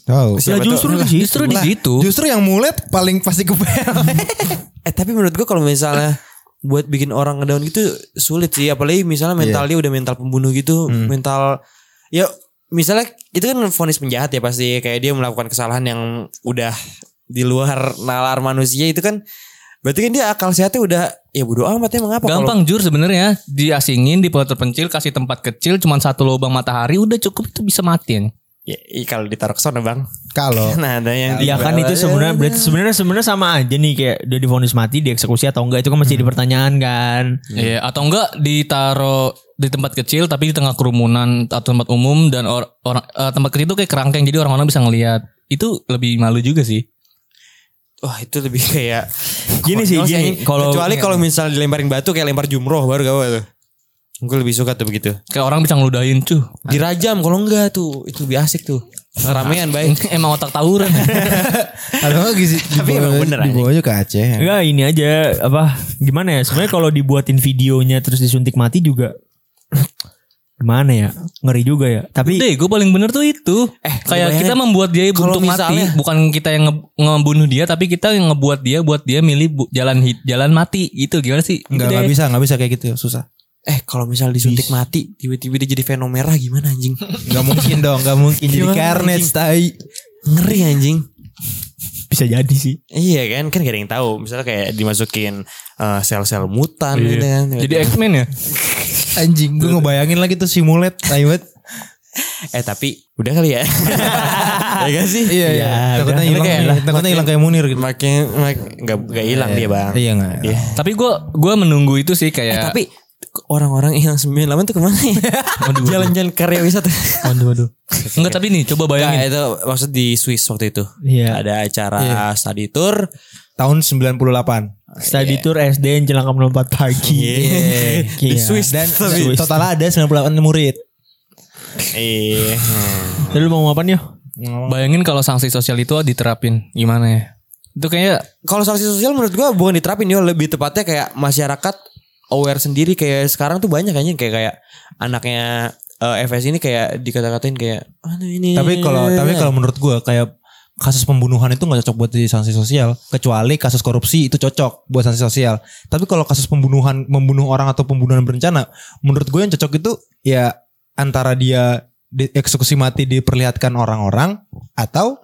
Tahu.
Siapa tuh?
justru di situ.
Justru di
Lah,
situ.
Justru yang mulet paling pasti ke
Eh tapi menurut gua kalau misalnya buat bikin orang ngedown gitu sulit sih apalagi misalnya mental dia udah mental pembunuh gitu, mental ya misalnya itu kan vonis penjahat ya pasti kayak dia melakukan kesalahan yang udah di luar nalar manusia itu kan berarti kan dia akal sehatnya udah ya bodo amat emang apa kalau
Gampang jur sebenarnya diasingin di pulau terpencil kasih tempat kecil cuman satu lubang matahari udah cukup itu bisa matiin.
ya, i- kalau ditaruh ke sana bang
Kalau
nah ada yang
Iya kan itu sebenarnya berarti sebenarnya sebenarnya sama aja nih kayak udah divonis mati dieksekusi atau enggak itu kan masih dipertanyaan kan.
Iya, atau enggak ditaro di tempat kecil tapi di tengah kerumunan atau tempat umum dan or- orang eh, tempat kecil itu kayak kerangkeng jadi orang-orang bisa ngelihat. Itu lebih malu juga sih.
wah itu lebih kayak
Gini sih,
konyol
gini.
anjing.
Kalau- Iya.
kecuali kalau misalnya dilemparin batu kayak lempar jumroh baru gawe tuh gue lebih suka tuh begitu
Kayak orang bisa ngeludahin cuh.
dirajam kalau enggak tuh itu lebih asik tuh ramean baik
Emang otak tawuran.
Atau nggak gizi
Tapi emang
dibawa-
bener,
dibawa aja ke Aceh.
Enggak ini aja apa gimana ya sebenarnya kalau dibuatin videonya terus disuntik mati juga gimana ya ngeri juga ya tapi
Deh, gue paling bener tuh itu.
Eh,
kayak
bayangin.
kita membuat dia
Kalau
untuk mati,
misalnya-
bukan kita yang nge- ngebunuh dia, tapi kita yang ngebuat dia buat dia milih bu- jalan hid- jalan mati gitu. Gimana sih? Gitu
Enggak, enggak
deh.
bisa, enggak bisa kayak gitu, susah.
eh kalau misal disuntik mati tiba-tiba dia jadi fenomena gimana anjing
Enggak mungkin dong, enggak mungkin jadi
Gimana,
carnage tai.
ngeri anjing
bisa jadi sih
iya kan kan gak ada yang tahu misalnya kayak dimasukin eh, sel-sel
Iya.
mutan gitu kan
Jadi X-Men ya?
Anjing, gue ngebayangin lagi tuh si mulet tai banget.
eh tapi udah kali ya ya gak sih
Iya, iya. Takutnya hilang,
Oke lah.
nih, takutnya hilang kayak Munir gitu.
makin makin nggak nggak hilang dia bang
Iya enggak.
Iya.
tapi gue gua menunggu itu sih
Eh,
kayak.
tapi orang-orang yang 98 tuh kemana ya jalan-jalan karya wisata
waduh waduh
Enggak tapi nih coba
Enggak,
bayangin.
itu maksud di Swiss waktu itu
Iya.
ada acara study tour
Tahun 98.
study tour SD yang celaka melompat pagi
Iya.
Iya.
Di Swiss Iya.
Iya. Dan
tapi-
totalnya ada 98 murid.
Iya.
Jadi lu mau ngomong apa nih? Yo?
Bayangin kalau sanksi sosial itu diterapin gimana ya? Itu kayaknya
Kalau sanksi sosial menurut gua bukan diterapin ya lebih tepatnya kayak masyarakat aware sendiri kayak sekarang tuh banyak kayaknya kayak kayak anaknya eh, FS ini kayak dikata-katain kayak aduh ini.
Tapi kalau tapi kalau menurut gua kayak kasus pembunuhan itu nggak cocok buat di sanksi sosial kecuali kasus korupsi itu cocok buat sanksi sosial tapi kalau kasus pembunuhan membunuh orang atau pembunuhan berencana menurut gue yang cocok itu ya antara dia di- eksekusi mati diperlihatkan orang-orang atau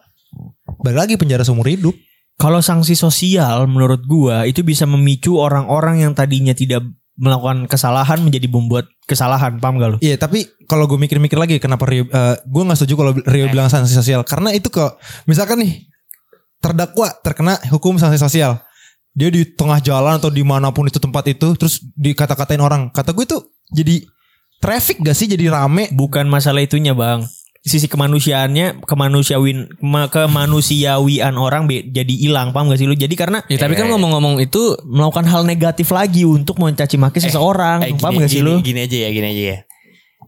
balik lagi penjara seumur hidup
Kalau sanksi sosial menurut gua itu bisa memicu orang-orang yang tadinya tidak melakukan kesalahan menjadi membuat kesalahan, paham gak lu?
Iya tapi kalau gue mikir-mikir lagi kenapa Rio, eh, gue nggak setuju kalau Rio bilang sanksi sosial karena itu ke misalkan nih terdakwa terkena hukum sanksi sosial dia di tengah jalan atau dimanapun itu tempat itu terus dikata-katain orang kata gue itu jadi traffic gak sih jadi rame
Bukan masalah itunya, Bang. Sisi kemanusiaannya, kemanusiawin kema- kemanusiawian orang be- jadi hilang, paham gak sih lu? Jadi karena
ya tapi kan ngomong-ngomong itu
melakukan hal negatif lagi untuk mencaci maki seseorang,
Eh, gini,
paham gak
gini-
sih lu?
Gini aja ya, gini aja ya.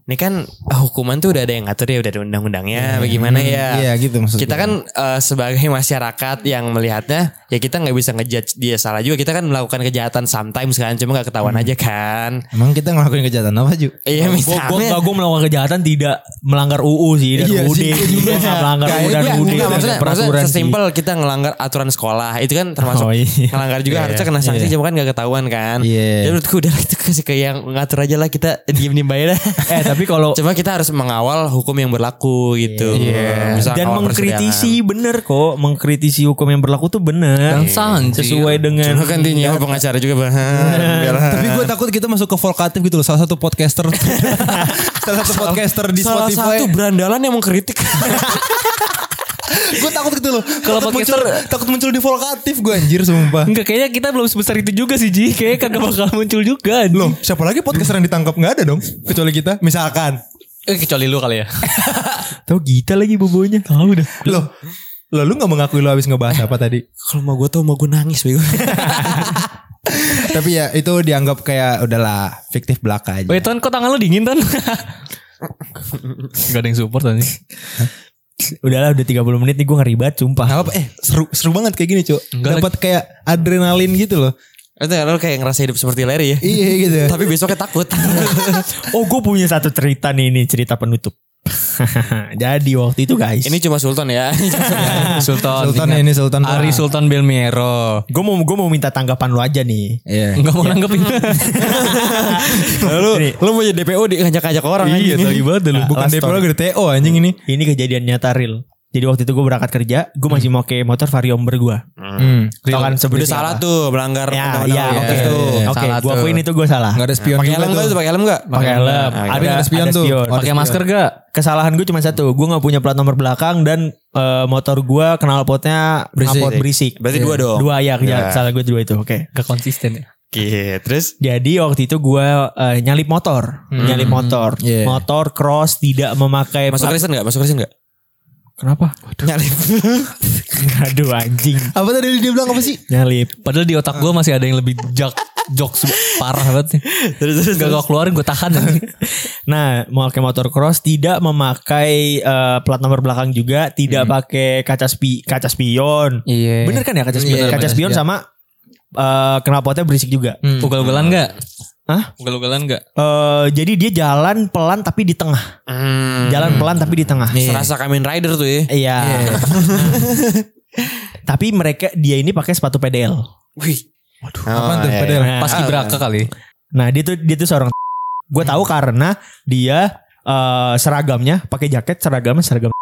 Ini kan ah, hukuman tuh udah ada yang ngatur ya, udah ada undang-undangnya, bagaimana ya?
Iya gitu maksudnya
kita kan eh, sebagai masyarakat yang melihatnya ya kita nggak bisa ngejudge dia salah juga kita kan melakukan kejahatan sometimes kan cuma nggak
Hmm.
ketahuan aja kan
emang kita ngelakuin kejahatan apa Ju?
iya
Gue
misalnya
gue melakukan kejahatan tidak melanggar UU sih dan
Iya
UUD.
sih, iya juga.
Nggak melanggar UU dan
Iya,
UUD
enggak,
dan
maksudnya,
peraturan
maksudnya
sih.
sesimpel kita ngelanggar aturan sekolah itu kan termasuk
Oh, iya.
ngelanggar juga harusnya kena sanksi cuma kan nggak ketahuan kan
Iya.
jadi menurutku udah itu kasih ke yang ngatur aja lah kita diem diem aja dah
Eh tapi kalau
cuma kita harus mengawal hukum yang berlaku gitu Misalnya
dan
kawal persidangan.
mengkritisi bener kok, mengkritisi hukum yang berlaku tuh bener.
Dan sanksi.
Eh, sesuai dengan
cuma kan dia nyewa pengacara juga bang Enggak lah.
tapi gue takut kita masuk ke volkatif gitu loh salah satu podcaster salah satu podcaster di
salah
Spotify
satu berandalan yang mengkritik
gue takut gitu loh
Kalau
Takut
podcaster-
muncul- takut muncul di volkatif gue anjir sumpah
enggak kayaknya kita belum sebesar itu juga sih Ji. Kayaknya kagak bakal muncul juga. anjing.
Loh, siapa lagi podcaster yang ditangkap nggak ada dong? Kecuali kita, misalkan.
Eh, kecuali lu kali ya.
Tahu kita lagi bobonya. Tahu udah.
Loh, lo lu nggak mengakui lo habis ngebahas apa tadi?
Kalau mau gue tau mau gue nangis bego.
Tapi ya itu dianggap kayak udahlah fiktif belaka aja.
Weh Ton, kok tangan lu dingin Ton? Gak ada yang support anjing.
Udahlah udah 30 menit nih gue ngeribat sumpah.
Nggak apa eh seru seru banget kayak gini, Cuk.
Enggak
Dapat kayak adrenalin gitu loh.
Itu ya, lo kayak ngerasa hidup seperti Larry ya.
Iya gitu.
Tapi besoknya takut.
Oh gue punya satu cerita nih ini cerita penutup. Jadi waktu itu guys.
Ini cuma Sultan ya.
Sultan,
Sultan
ingat.
ini Sultan
Ari
doang.
Sultan Belmiro.
gue mau gue mau minta tanggapan lu aja nih.
Iya.
Enggak mau nanggepin.
lu lu mau jadi DPO diajak-ajak orang anjing.
banget dah lu.
Nah,
Bukan gitu.
last
DPO
story.
gede TO anjing ini.
Ini kejadian nyata real. Jadi waktu itu gue berangkat kerja, gue masih
Hmm.
mau pakai motor Variomber gue.
Hmm.
Tau kan
Udah
sebenarnya
salah tuh melanggar
Ya,
undang-undang gitu.
ya,
waktu
oke.
itu.
iya.
Oke,
Salah
gue
tuh.
akuin itu gue salah.
Enggak ada spion
Pakai
juga
helm
tuh.
enggak tuh? Pakai helm enggak?
Pakai helm.
Nah,
Tapi nggak ada spion tuh. Oh,
Pakai masker gak?
Kesalahan gue cuma satu, gue nggak punya plat nomor belakang dan eh, motor gue knalpotnya
Berisik.
knalpot berisik.
Berarti dua dong.
Dua
Ya.
ya, ya. salah gue dua itu. Oke.
Gak konsisten ya.
Oke, terus
Jadi waktu itu gue eh, nyalip motor, nyalip motor,
Iya.
motor cross tidak memakai
masuk
plat-
Kristen enggak? Masuk Kristen enggak?
Kenapa?
Nyalip.
Aduh anjing,
Apa tadi dia bilang apa sih?
nyalip.
Padahal di otak gue masih ada yang lebih jak jokes parah banget sih.
terus
Gak gue keluarin gue tahan aja.
Nah, memakai motor cross tidak memakai eh, plat nomor belakang juga, tidak
Hmm.
pakai kaca spi kaca spion.
Iya.
Bener kan ya kaca spion?
Iya,
kaca
bener, iya.
spion
Hmm.
sama eh knalpotnya berisik juga.
Ugal-ugalan gak?
Hah?
Ugal-ugalan gak?
Eh, jadi dia jalan pelan tapi di tengah.
Hmm,
Jalan pelan tapi di tengah.
Iya.
serasa Kamen Rider tuh ya.
Iya. tapi mereka dia ini pakai sepatu PDL.
Wih. Waduh,
Apaan tuh? Padahal.
Nah,
Pas Ibraka kali.
nah dia tuh dia tuh seorang gue tahu karena dia eh, seragamnya pakai jaket seragamnya seragam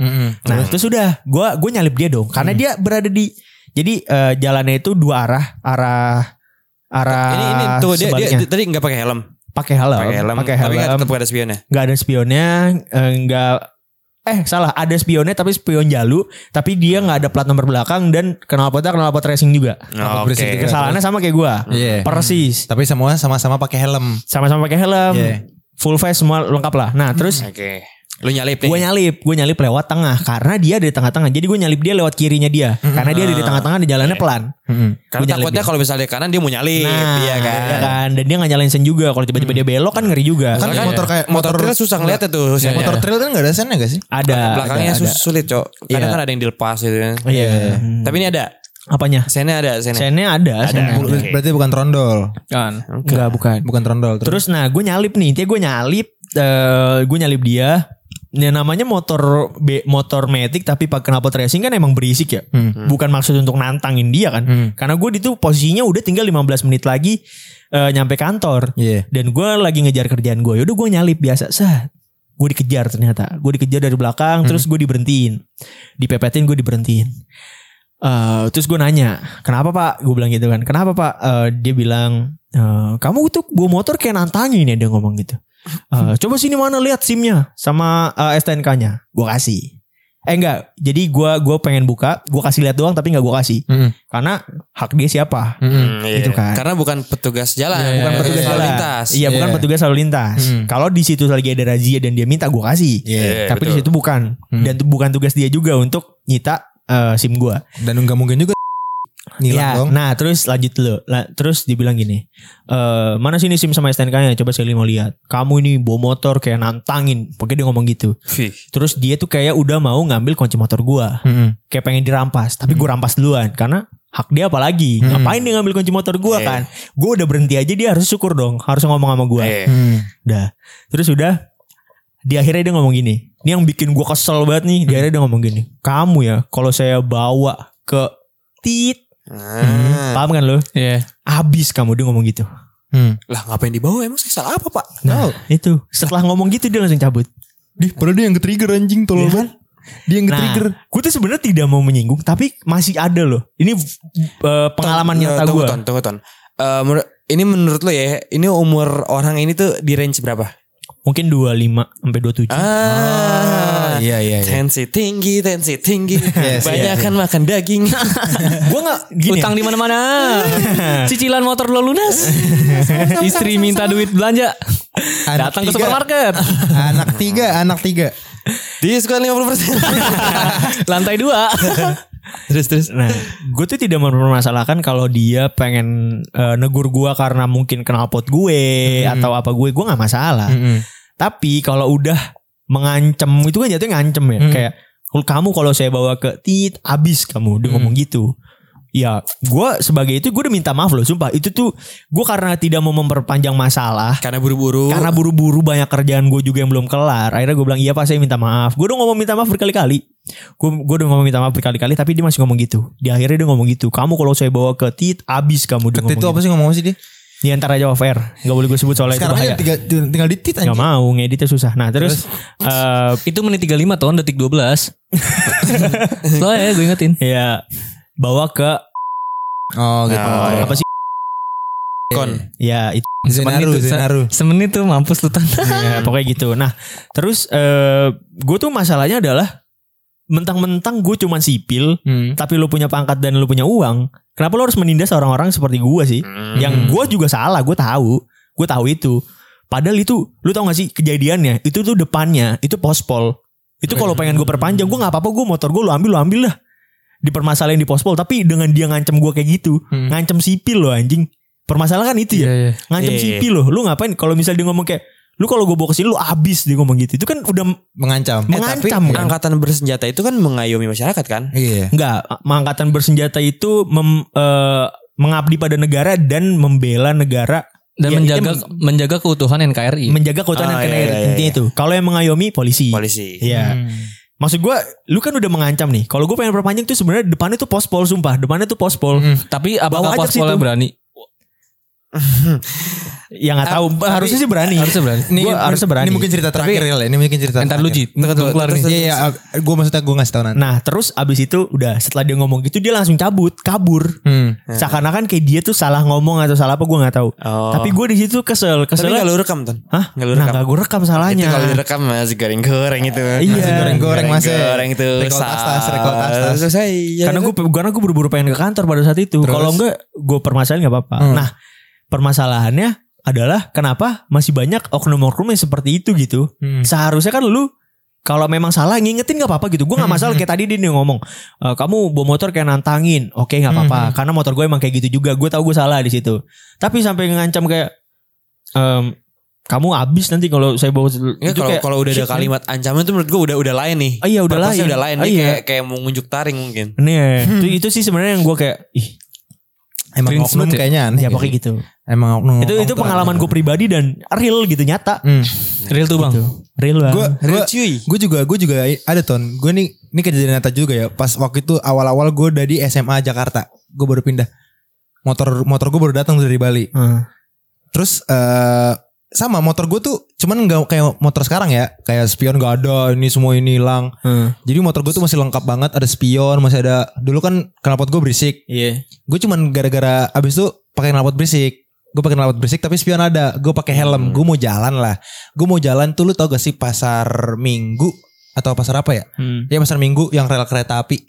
Mm-mm.
Nah, itu sudah. Gua gue nyalip dia dong karena
Hmm.
dia berada di jadi eh, jalannya itu dua arah, arah arah
Ini ini tuh dia, dia
sebaliknya.
Ah, tadi enggak pakai helm.
pakai helm,
Pakai helm.
pakai
Tapi enggak
helm.
tetap ada spionnya.
Enggak ada spionnya, eh, enggak eh salah, ada spionnya tapi spion jalu, tapi dia nggak ada plat nomor belakang dan knalpotnya knalpot racing juga.
Oh,
berisik
Oke.
juga.
Kesalahannya sama kayak gua.
Iya.
Persis.
Tapi semua sama-sama pakai helm.
Sama-sama pakai helm.
Iya.
Full face semua lengkap lah. Nah, terus
Oke. Lu nyalip nih.
Gue Hmm. nyalip, gue nyalip lewat tengah karena dia ada di tengah-tengah. Jadi gue nyalip dia lewat kirinya dia, karena dia ada di tengah-tengah dan jalannya pelan.
Karena
Gua nyalip
takutnya
dia.
kalau misalnya di kanan dia mau nyalip, iya kan.
iya kan? Dan dia nggak nyalain sen juga. Kalau tiba-tiba dia belok kan ngeri juga.
Kan
Soalnya
motor kayak-
motor,
motor-
trail susah ngeliatnya tuh. Iya,
Motor trail kan enggak ada sennya gak sih?
ada
belakangnya
ada,
sus- sulit, Cok. Kadang
Iya.
kan ada yang dilepas gitu kan.
ada. Iya. Hmm.
Tapi ini ada.
Apanya?
Sennya ada, sennya.
Sennya ada, sennya.
Bu-
Oke.
Berarti bukan trondol.
Kan.
Enggak bukan.
Bukan trondol.
Terus nah gue nyalip nih, intinya gue nyalip, eh gue nyalip dia. Ya namanya motor B, motor matic tapi pakai knalpot racing kan emang berisik ya. Bukan maksud untuk nantangin dia kan. Karena gue di tuh posisinya udah tinggal 15 menit lagi eh, nyampe kantor.
Iya.
Dan gue lagi ngejar kerjaan gue. Yaudah gue nyalip biasa. Sah. Gue dikejar ternyata. Gue dikejar dari belakang. Terus gue diberhentiin. Dipepetin gue diberhentiin. Eh, terus gue nanya. Kenapa pak? Gue bilang gitu kan. Kenapa pak? Eh, dia bilang. "Eh, kamu tuh gue motor kayak nantangin ya. Dia ngomong gitu. Eh, coba sini mana lihat simnya. Sama eh, STNK-nya. Gue kasih. Eh enggak. Jadi gue gua pengen buka. Gue kasih lihat doang tapi enggak gue kasih.
Mm-mm.
Karena hak dia siapa?
Hmm, iya.
Gitu kan.
Karena bukan petugas jalan,
Iya,
bukan
iya,
petugas
Iya.
lalu lintas.
Iya, bukan
Iya.
petugas lalu lintas.
Hmm.
Kalau di situ lagi ada razia dan dia minta gue kasih.
Iya,
Tapi di
betul.
situ bukan
Hmm.
dan tu- bukan tugas dia juga untuk nyita eh, SIM gue.
Dan enggak mungkin juga nilang
Ya,
dong.
Nah, terus lanjut dulu. La- terus dibilang gini. "Eh, mana sini SIM sama STNK-nya? Coba sekali mau lihat. Kamu ini bawa motor kayak nantangin. Pokoknya dia ngomong gitu.
Fih.
Terus dia tuh kayak udah mau ngambil kunci motor gua.
Mm-mm.
Kayak pengen dirampas, tapi gue rampas duluan karena hak dia apalagi ngapain dia ngambil kunci motor
Iya.
gua kan gue udah berhenti aja dia harus syukur dong harus ngomong sama gue
Iya.
Hmm.
Udah. Terus udah di akhirnya dia ngomong gini. Ini yang bikin gua kesel banget nih. Di akhirnya dia ngomong gini. Kamu ya kalau saya bawa ke tit.
Ah.
Paham kan lo?
Iya.
Abis kamu dia ngomong gitu.
Hmm.
Lah ngapain dibawa emang saya salah apa, Pak?
Nah itu. Setelah ngomong gitu dia langsung cabut.
Dih, padahal dia yang ke-trigger anjing tolol
Iya.
banget. Dia yang
Nah
ke-trigger.
gue tuh sebenarnya tidak mau menyinggung. Tapi masih ada loh. Ini eh, pengalaman
Ton-
nyata
eh, tunggu,
gue.
Ton, tunggu, Ton. Eh, menur- ini menurut lo ya, ini umur orang ini tuh di range berapa?
Mungkin 25 sampai 27.
Ah,
iya iya.
tensi tinggi, tensi tinggi.
Yes,
Banyakan makan daging.
Gue gak gini. ya.
Utang di mana-mana. Cicilan motor lo lunas. Istri minta duit belanja.
Anak
Datang ke
tiga.
supermarket.
anak tiga, anak tiga.
Diskon 50%.
Lantai dua.
terus terus.
Nah, gue tuh tidak mempermasalahkan kalau dia pengen eh, negur gue karena mungkin knalpot gue
Hmm.
atau apa gue, gue nggak masalah. Tapi kalau udah mengancem itu kan
Hmm. Hmm.
jatuhnya ngancem ya, kayak "Kalau kamu kalau saya bawa ke tit abis kamu, dia ngomong gitu. Ya, gue sebagai itu gue udah minta maaf loh, sumpah. Itu tuh gue karena tidak mau memperpanjang masalah,
Karena buru-buru.
karena buru-buru banyak kerjaan gue juga yang belum kelar. Akhirnya gue bilang iya pak saya minta maaf. Gue udah ngomong minta maaf berkali-kali. Gue gue udah ngomong minta maaf berkali-kali, tapi dia masih ngomong gitu. Di akhirnya dia ngomong gitu. Kamu kalau saya bawa ke tit, abis kamu dia
Ketit itu
ngomong
apa sih ngomong sih dia?
gitu. Ya, ntar aja off air. Gak boleh gue sebut soalnya itu
Sekarang aja
bahaya.
tinggal, tinggal di tit
Gak
anjing.
mau ngeditnya susah. Nah terus, eh
Itu menit 35 tahun detik 12. Soalnya ya gue ingetin.
ya bawa ke
Oh gitu.
Nah,
apa sih?
kon.
Ya
Hmm.
itu.
Semenit
Zenaru,
tuh, se-
Zenaru.
Semenit tuh mampus tuh Tan.
Ya, pokoknya gitu. Nah, terus eh gue tuh masalahnya adalah mentang-mentang gue cuman sipil,
Hmm.
tapi lu punya pangkat dan lu punya uang, kenapa lu harus menindas orang-orang seperti gue sih? Yang gue juga salah, gue tahu, gue tahu itu. Padahal itu, lu tau gak sih kejadiannya? Itu tuh depannya, itu pospol. Itu kalau pengen gue perpanjang, gue nggak apa-apa, gue motor gue lu ambil, lu ambil lah. Dipermasalahin di pospol, tapi dengan dia ngancem gue kayak gitu,
Hmm.
ngancem sipil loh anjing. Permasalahan itu ya ngancam
Iya,
CP loh. Lu ngapain kalau misal dia ngomong kayak lu kalau gue bawa ke sini lu abis dia ngomong gitu. Itu kan udah
Mengancam.
mengancam kan.
Angkatan bersenjata itu kan mengayomi masyarakat kan?
Iya.
Enggak, angkatan bersenjata itu mem- eh, mengabdi pada negara dan membela negara
Dan menjaga
Ya, itu
menjaga keutuhan NKRI.
menjaga keutuhan
Ah, iya,
dan
iya,
NKRI,
iya,
intinya
iya.
itu. Kalau yang mengayomi polisi.
Polisi. Hmm.
Iya. Maksud gue, lu kan udah mengancam nih. Kalau gue pengen perpanjang tuh sebenarnya depannya tuh pospol sumpah, depannya tuh pospol.
Hmm.
Tapi apakah
Bawa aja ke
pospolnya
situ.
berani?
Ya
Ah,
nggak tahu,
tapi-
harusnya sih berani.
Harusnya berani.
Ini,
Gua harusnya berani.
ini mungkin cerita terakhir ya. Ini mungkin cerita
Entar lu
terakhir.
Ji, ntar keluar nih.
Iya iya, gue maksudnya gue ngasih tau nanti.
Nah terus abis itu udah setelah dia ngomong gitu dia langsung cabut, kabur.
Hmm.
Seakan-akan kayak dia tuh salah ngomong atau salah apa gue nggak tahu.
Oh.
Tapi gue di situ kesel,
Tapi
kesel.
nggak lu rekam tuh.
Hah?
Nggak lu
nah,
rekam.
nggak gue rekam
Itu
salahnya.
kalau direkam masih goreng-goreng itu.
Iya.
Masih
goreng-goreng, Mas.
Goreng itu.
Recall atas, recall atas.
Selesai. ya.
karena gue karena gue buru-buru pengen ke kantor pada saat itu.
Terus?
Kalau enggak gue permasalahan nggak apa-apa.
Hmm.
Nah, permasalahannya adalah kenapa masih banyak oknum-oknum yang seperti itu gitu.
Hmm.
Seharusnya kan lu kalau memang salah ngingetin nggak apa-apa gitu. Gue
Hmm,
nggak masalah kayak tadi dia nih ngomong e, kamu bawa motor kayak nantangin. Oke nggak
Hmm,
apa-apa karena motor gue emang kayak gitu juga. Gue tahu gue salah di situ. Tapi sampai ngancam kayak em, kamu abis nanti kalau saya bawa
Ya,
itu
kalau
kayak,
kalau udah ada
shit, man.
kalimat ancaman itu menurut gue udah udah lain nih.
Oh iya, udah
Purpose-nya
lain.
Udah lain.
Oh
Dia
iya.
kayak kayak mau ngunjuk taring mungkin.
Nih, itu, itu sih sebenarnya yang gue kayak ih,
Emang
Cringe
oknum
banget ya?
kayaknya aneh.
Iya,
ya pokoknya gitu.
Emang oknum.
itu itu pengalaman gue pribadi dan real gitu nyata.
Hmm.
Real tuh bang.
Gitu. Real bang.
Gue
Real cuy.
gue juga gue juga ada ton. Gue nih ini kejadian nyata juga ya. Pas waktu itu awal-awal gue dari SMA Jakarta. Gue baru pindah. Motor motor gue baru datang dari Bali.
Hmm.
Terus eh sama motor gue tuh cuman nggak kayak motor sekarang ya. Kayak spion gak ada. Ini semua ini hilang. Jadi motor gue tuh masih lengkap banget. Ada spion, masih ada. Dulu kan knalpot gue berisik.
Iya.
gue cuman gara-gara abis itu pakai knalpot berisik gue pakai knalpot berisik tapi spion ada gue pakai helm gue mau jalan lah gue mau jalan tuh lu tau gak sih pasar minggu atau pasar apa ya
Hmm.
ya pasar minggu yang rel kereta api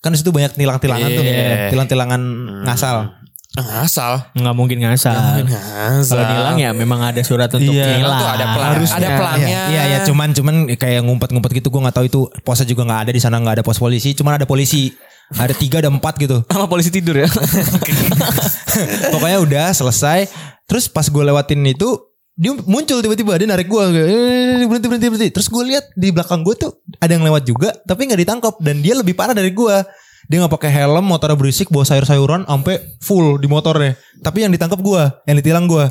kan disitu banyak tilang-tilangan tuh
Iya.
tilang-tilangan ngasal
Asal.
Nggak mungkin ngasal.
Ngasal.
Kalau hilang ya memang ada surat untuk
Iya.
hilang.
Tuh ada pelang, ada pelangnya.
Iya, iya, iya, cuman cuman kayak ngumpet-ngumpet gitu gue nggak tahu itu posnya juga nggak ada di sana nggak ada pos polisi cuman ada polisi ada tiga ada empat gitu
Sama polisi tidur ya.
Pokoknya udah selesai. Terus pas gue lewatin itu dia muncul tiba-tiba dia narik gue berhenti berhenti berhenti terus gue lihat di belakang gue tuh ada yang lewat juga tapi nggak ditangkap dan dia lebih parah dari gue dia nggak pakai helm motornya berisik bawa sayur-sayuran sampai full di motornya tapi yang ditangkap gue yang ditilang gue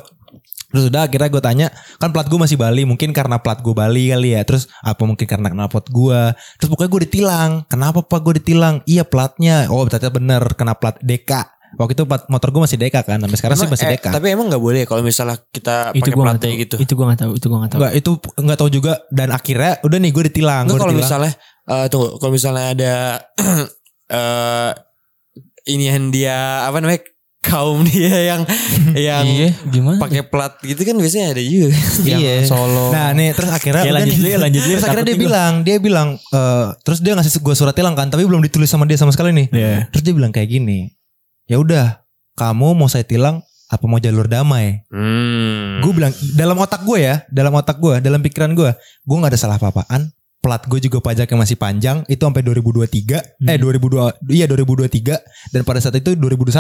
terus udah akhirnya gue tanya kan plat gue masih Bali mungkin karena plat gue Bali kali ya terus apa mungkin karena knalpot gue terus pokoknya gue ditilang kenapa pak gue ditilang iya platnya oh ternyata bener kena plat DK waktu itu plat motor gue masih DK kan sampai sekarang sih
Emang,
masih
eh,
DK
tapi emang nggak boleh kalau misalnya kita pakai
Itu gue nggak
pelatih
tahu. Iya,
gitu.
Itu gue nggak tahu. Itu gue nggak tahu.
Enggak itu enggak tahu juga dan akhirnya udah nih gue ditilang.
Enggak
Gua
kalau
ditilang.
misalnya eh tunggu kalau misalnya ada eh ini yang dia apa namanya kaum dia yang yang
Iya,
gimana?
pakai plat gitu kan biasanya ada juga.
Iya.
Solo.
Nah nih terus akhirnya
Ya,
udah
lanjut
nih.
dulu ya, lanjut dulu ya,
Terus akhirnya dia
takut nih gua.
bilang dia bilang eh, terus dia ngasih gue surat tilang kan tapi belum ditulis sama dia sama sekali nih.
Iya.
Terus dia bilang kayak gini. Ya udah kamu mau saya tilang apa mau jalur damai?
Hmm.
Gue bilang dalam otak gue ya dalam otak gue dalam pikiran gue gue nggak ada salah apa-apaan. Plat gue juga pajaknya masih panjang itu sampai 2023 eh 2002 iya 2023 dan pada saat itu 2021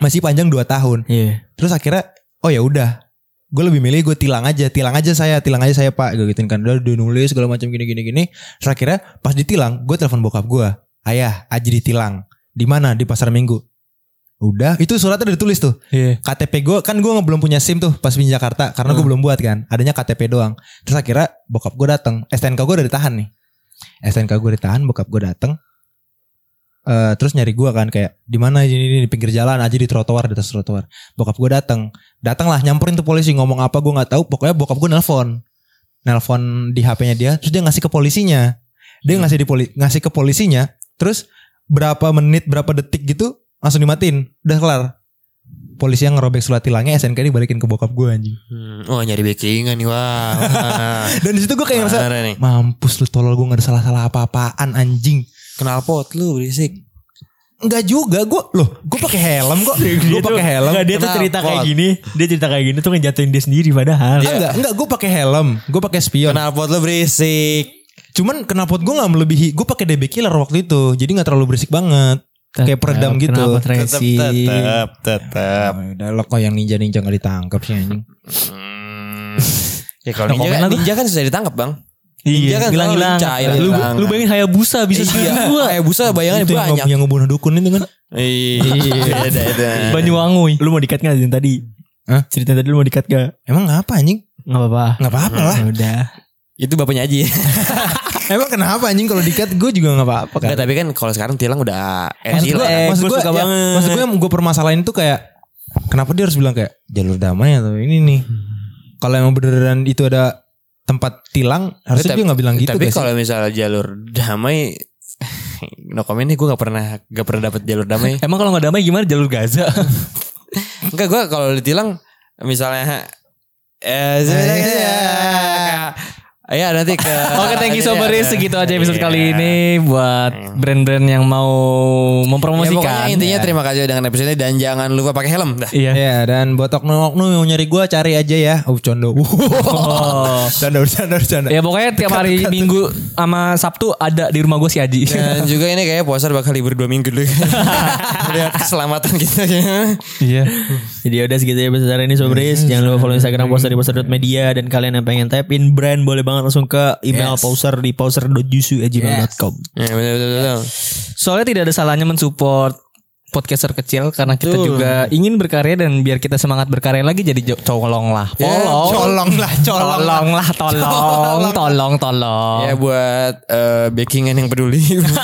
masih panjang 2 tahun.
Iya.
Terus akhirnya oh ya udah. Gue lebih milih gue tilang aja, tilang aja saya, tilang aja saya Pak. Gue gituin kan udah udah nulis segala macam gini gini gini. Terus akhirnya pas ditilang, gue telepon bokap gue. Ayah, Aji ditilang. Di mana? Di pasar minggu. Udah, itu suratnya udah ditulis tuh.
Iya.
KTP gue kan gue belum punya SIM tuh pas pindah Jakarta karena gue belum buat kan. Adanya KTP doang. Terus akhirnya bokap gue datang. STNK gue udah ditahan nih. STNK gue ditahan, bokap gue datang. Eh terus nyari gue kan kayak di mana ini, ini, di pinggir jalan aja di trotoar di atas trotoar. Bokap gue datang. Datanglah nyamperin tuh polisi ngomong apa gue nggak tahu. Pokoknya bokap gue nelpon. Nelpon di HP-nya dia terus dia ngasih ke polisinya. Dia ngasih di poli- ngasih ke polisinya. Terus berapa menit berapa detik gitu langsung dimatiin. Udah kelar polisi yang ngerobek surat tilangnya SNK dibalikin ke bokap gue anjing.
Hmm, oh nyari backingan nih wah.
Dan di situ gue kayak ngerasa
Parah nih.
mampus lu tolol gue gak ada salah-salah apa-apaan anjing.
Kenal pot lu berisik.
Enggak juga gue loh gue pakai helm kok. gue pakai helm.
Enggak, gitu. dia tuh cerita kayak gini, dia cerita kayak gini tuh ngejatuhin dia sendiri padahal.
Ah, Enggak, enggak gue pakai helm, gue pakai spion.
Kenal pot lu berisik.
Cuman kenapa gue nggak melebihi? Gue pakai DB killer waktu itu, jadi nggak terlalu berisik banget. kayak peredam
Tetep,
gitu.
kenapa,
Tetap
Tracing.
tetap tetap.
Oh, Udah lo kok yang ninja ninja nggak ditangkap sih anjing.
Hmm. Ya kalau
Nah,
ninja,
komen
kan,
lah gua.
ninja kan susah ditangkap bang. Ninja
Iya,
kan selalu
hilang-hilang.
lincah,
Lu, kan."
hilang-hilang.
lu bayangin Hayabusa bisa
Iya,
segala.
kayak busa bayangannya
Itu yang,
banyak.
yang ngebunuh dukun itu kan.
Iya, ada ada.
Banyuwangi.
Lu mau dikat gak yang tadi?
Hah?
Cerita tadi lu mau dikat gak?
Emang ngapa anjing?
Gak apa-apa.
Nggak apa-apa lah.
Ya udah.
Itu bapaknya aja.
Emang kenapa anjing kalau dikat gue juga nggak apa-apa kan?
Enggak, tapi kan kalau sekarang tilang udah
maksud gue,
Eh,
maksud
gua
gue,
suka
ya,
banget.
maksud gue yang gue permasalahin tuh kayak kenapa dia harus bilang kayak jalur damai atau ini nih? Kalau emang beneran itu ada tempat tilang, harusnya
tapi-
dia nggak bilang gitu
Tapi
guys.
kalau misalnya jalur damai No comment nih gue gak pernah Gak pernah dapet jalur damai
Emang kalau nggak damai gimana jalur Gaza?
Enggak gue kalau ditilang Misalnya Eh sebenarnya
iya.
Ya nanti ke
Oke, Oh, thank you so much. Segitu aja episode
Iya.
kali ini buat brand-brand yang mau
Ya, pokoknya
mempromosikan.
intinya terima kasih dengan episode ini Dan jangan lupa pakai helm dah.
Iya.
Ya dan buat oknum-oknum yang nyari gue cari aja ya. Oh condo.
Oh.
Canda bercanda bercanda.
Iya.
Ya pokoknya tiap hari Minggu sama Sabtu ada di rumah gue si Aji.
Dan juga ini kayaknya puasa bakal libur 2 minggu dulu Lihat keselamatan kita ya
Iya.
Jadi udah segitu ya besar ini Sobris. Jangan lupa follow Instagram poster di poster.media dan kalian yang pengen type in brand boleh banget langsung ke email poster di poster.jusu@gmail.com.
Ya betul betul, betul.
Soalnya tidak ada salahnya mensupport podcaster kecil karena kita
Betul.
juga ingin berkarya dan biar kita semangat berkarya lagi jadi jo- colong lah.
Ya,
Tolong.
Colong lah, colong.
Tolong lah, tolong, tolong, tolong.
Ya buat eh, backingan yang peduli Bisa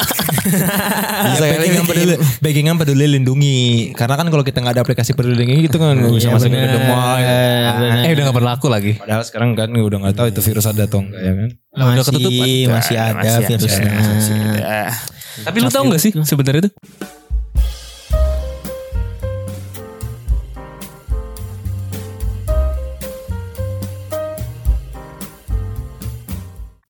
kali
Ya, baggingan peduli, baggingan peduli lindungi. Karena kan kalau kita nggak ada aplikasi peduli lindungi gitu kan nggak bisa masuk ke Ah. gedung mall.
Eh udah gak berlaku lagi.
Padahal sekarang kan udah nggak tahu itu virus ada atau enggak ya kan.
Masih,
ketutupan.
masih ada
Masih
virusnya.
masih ada.
Tapi lu tahu gak sih sebenarnya itu?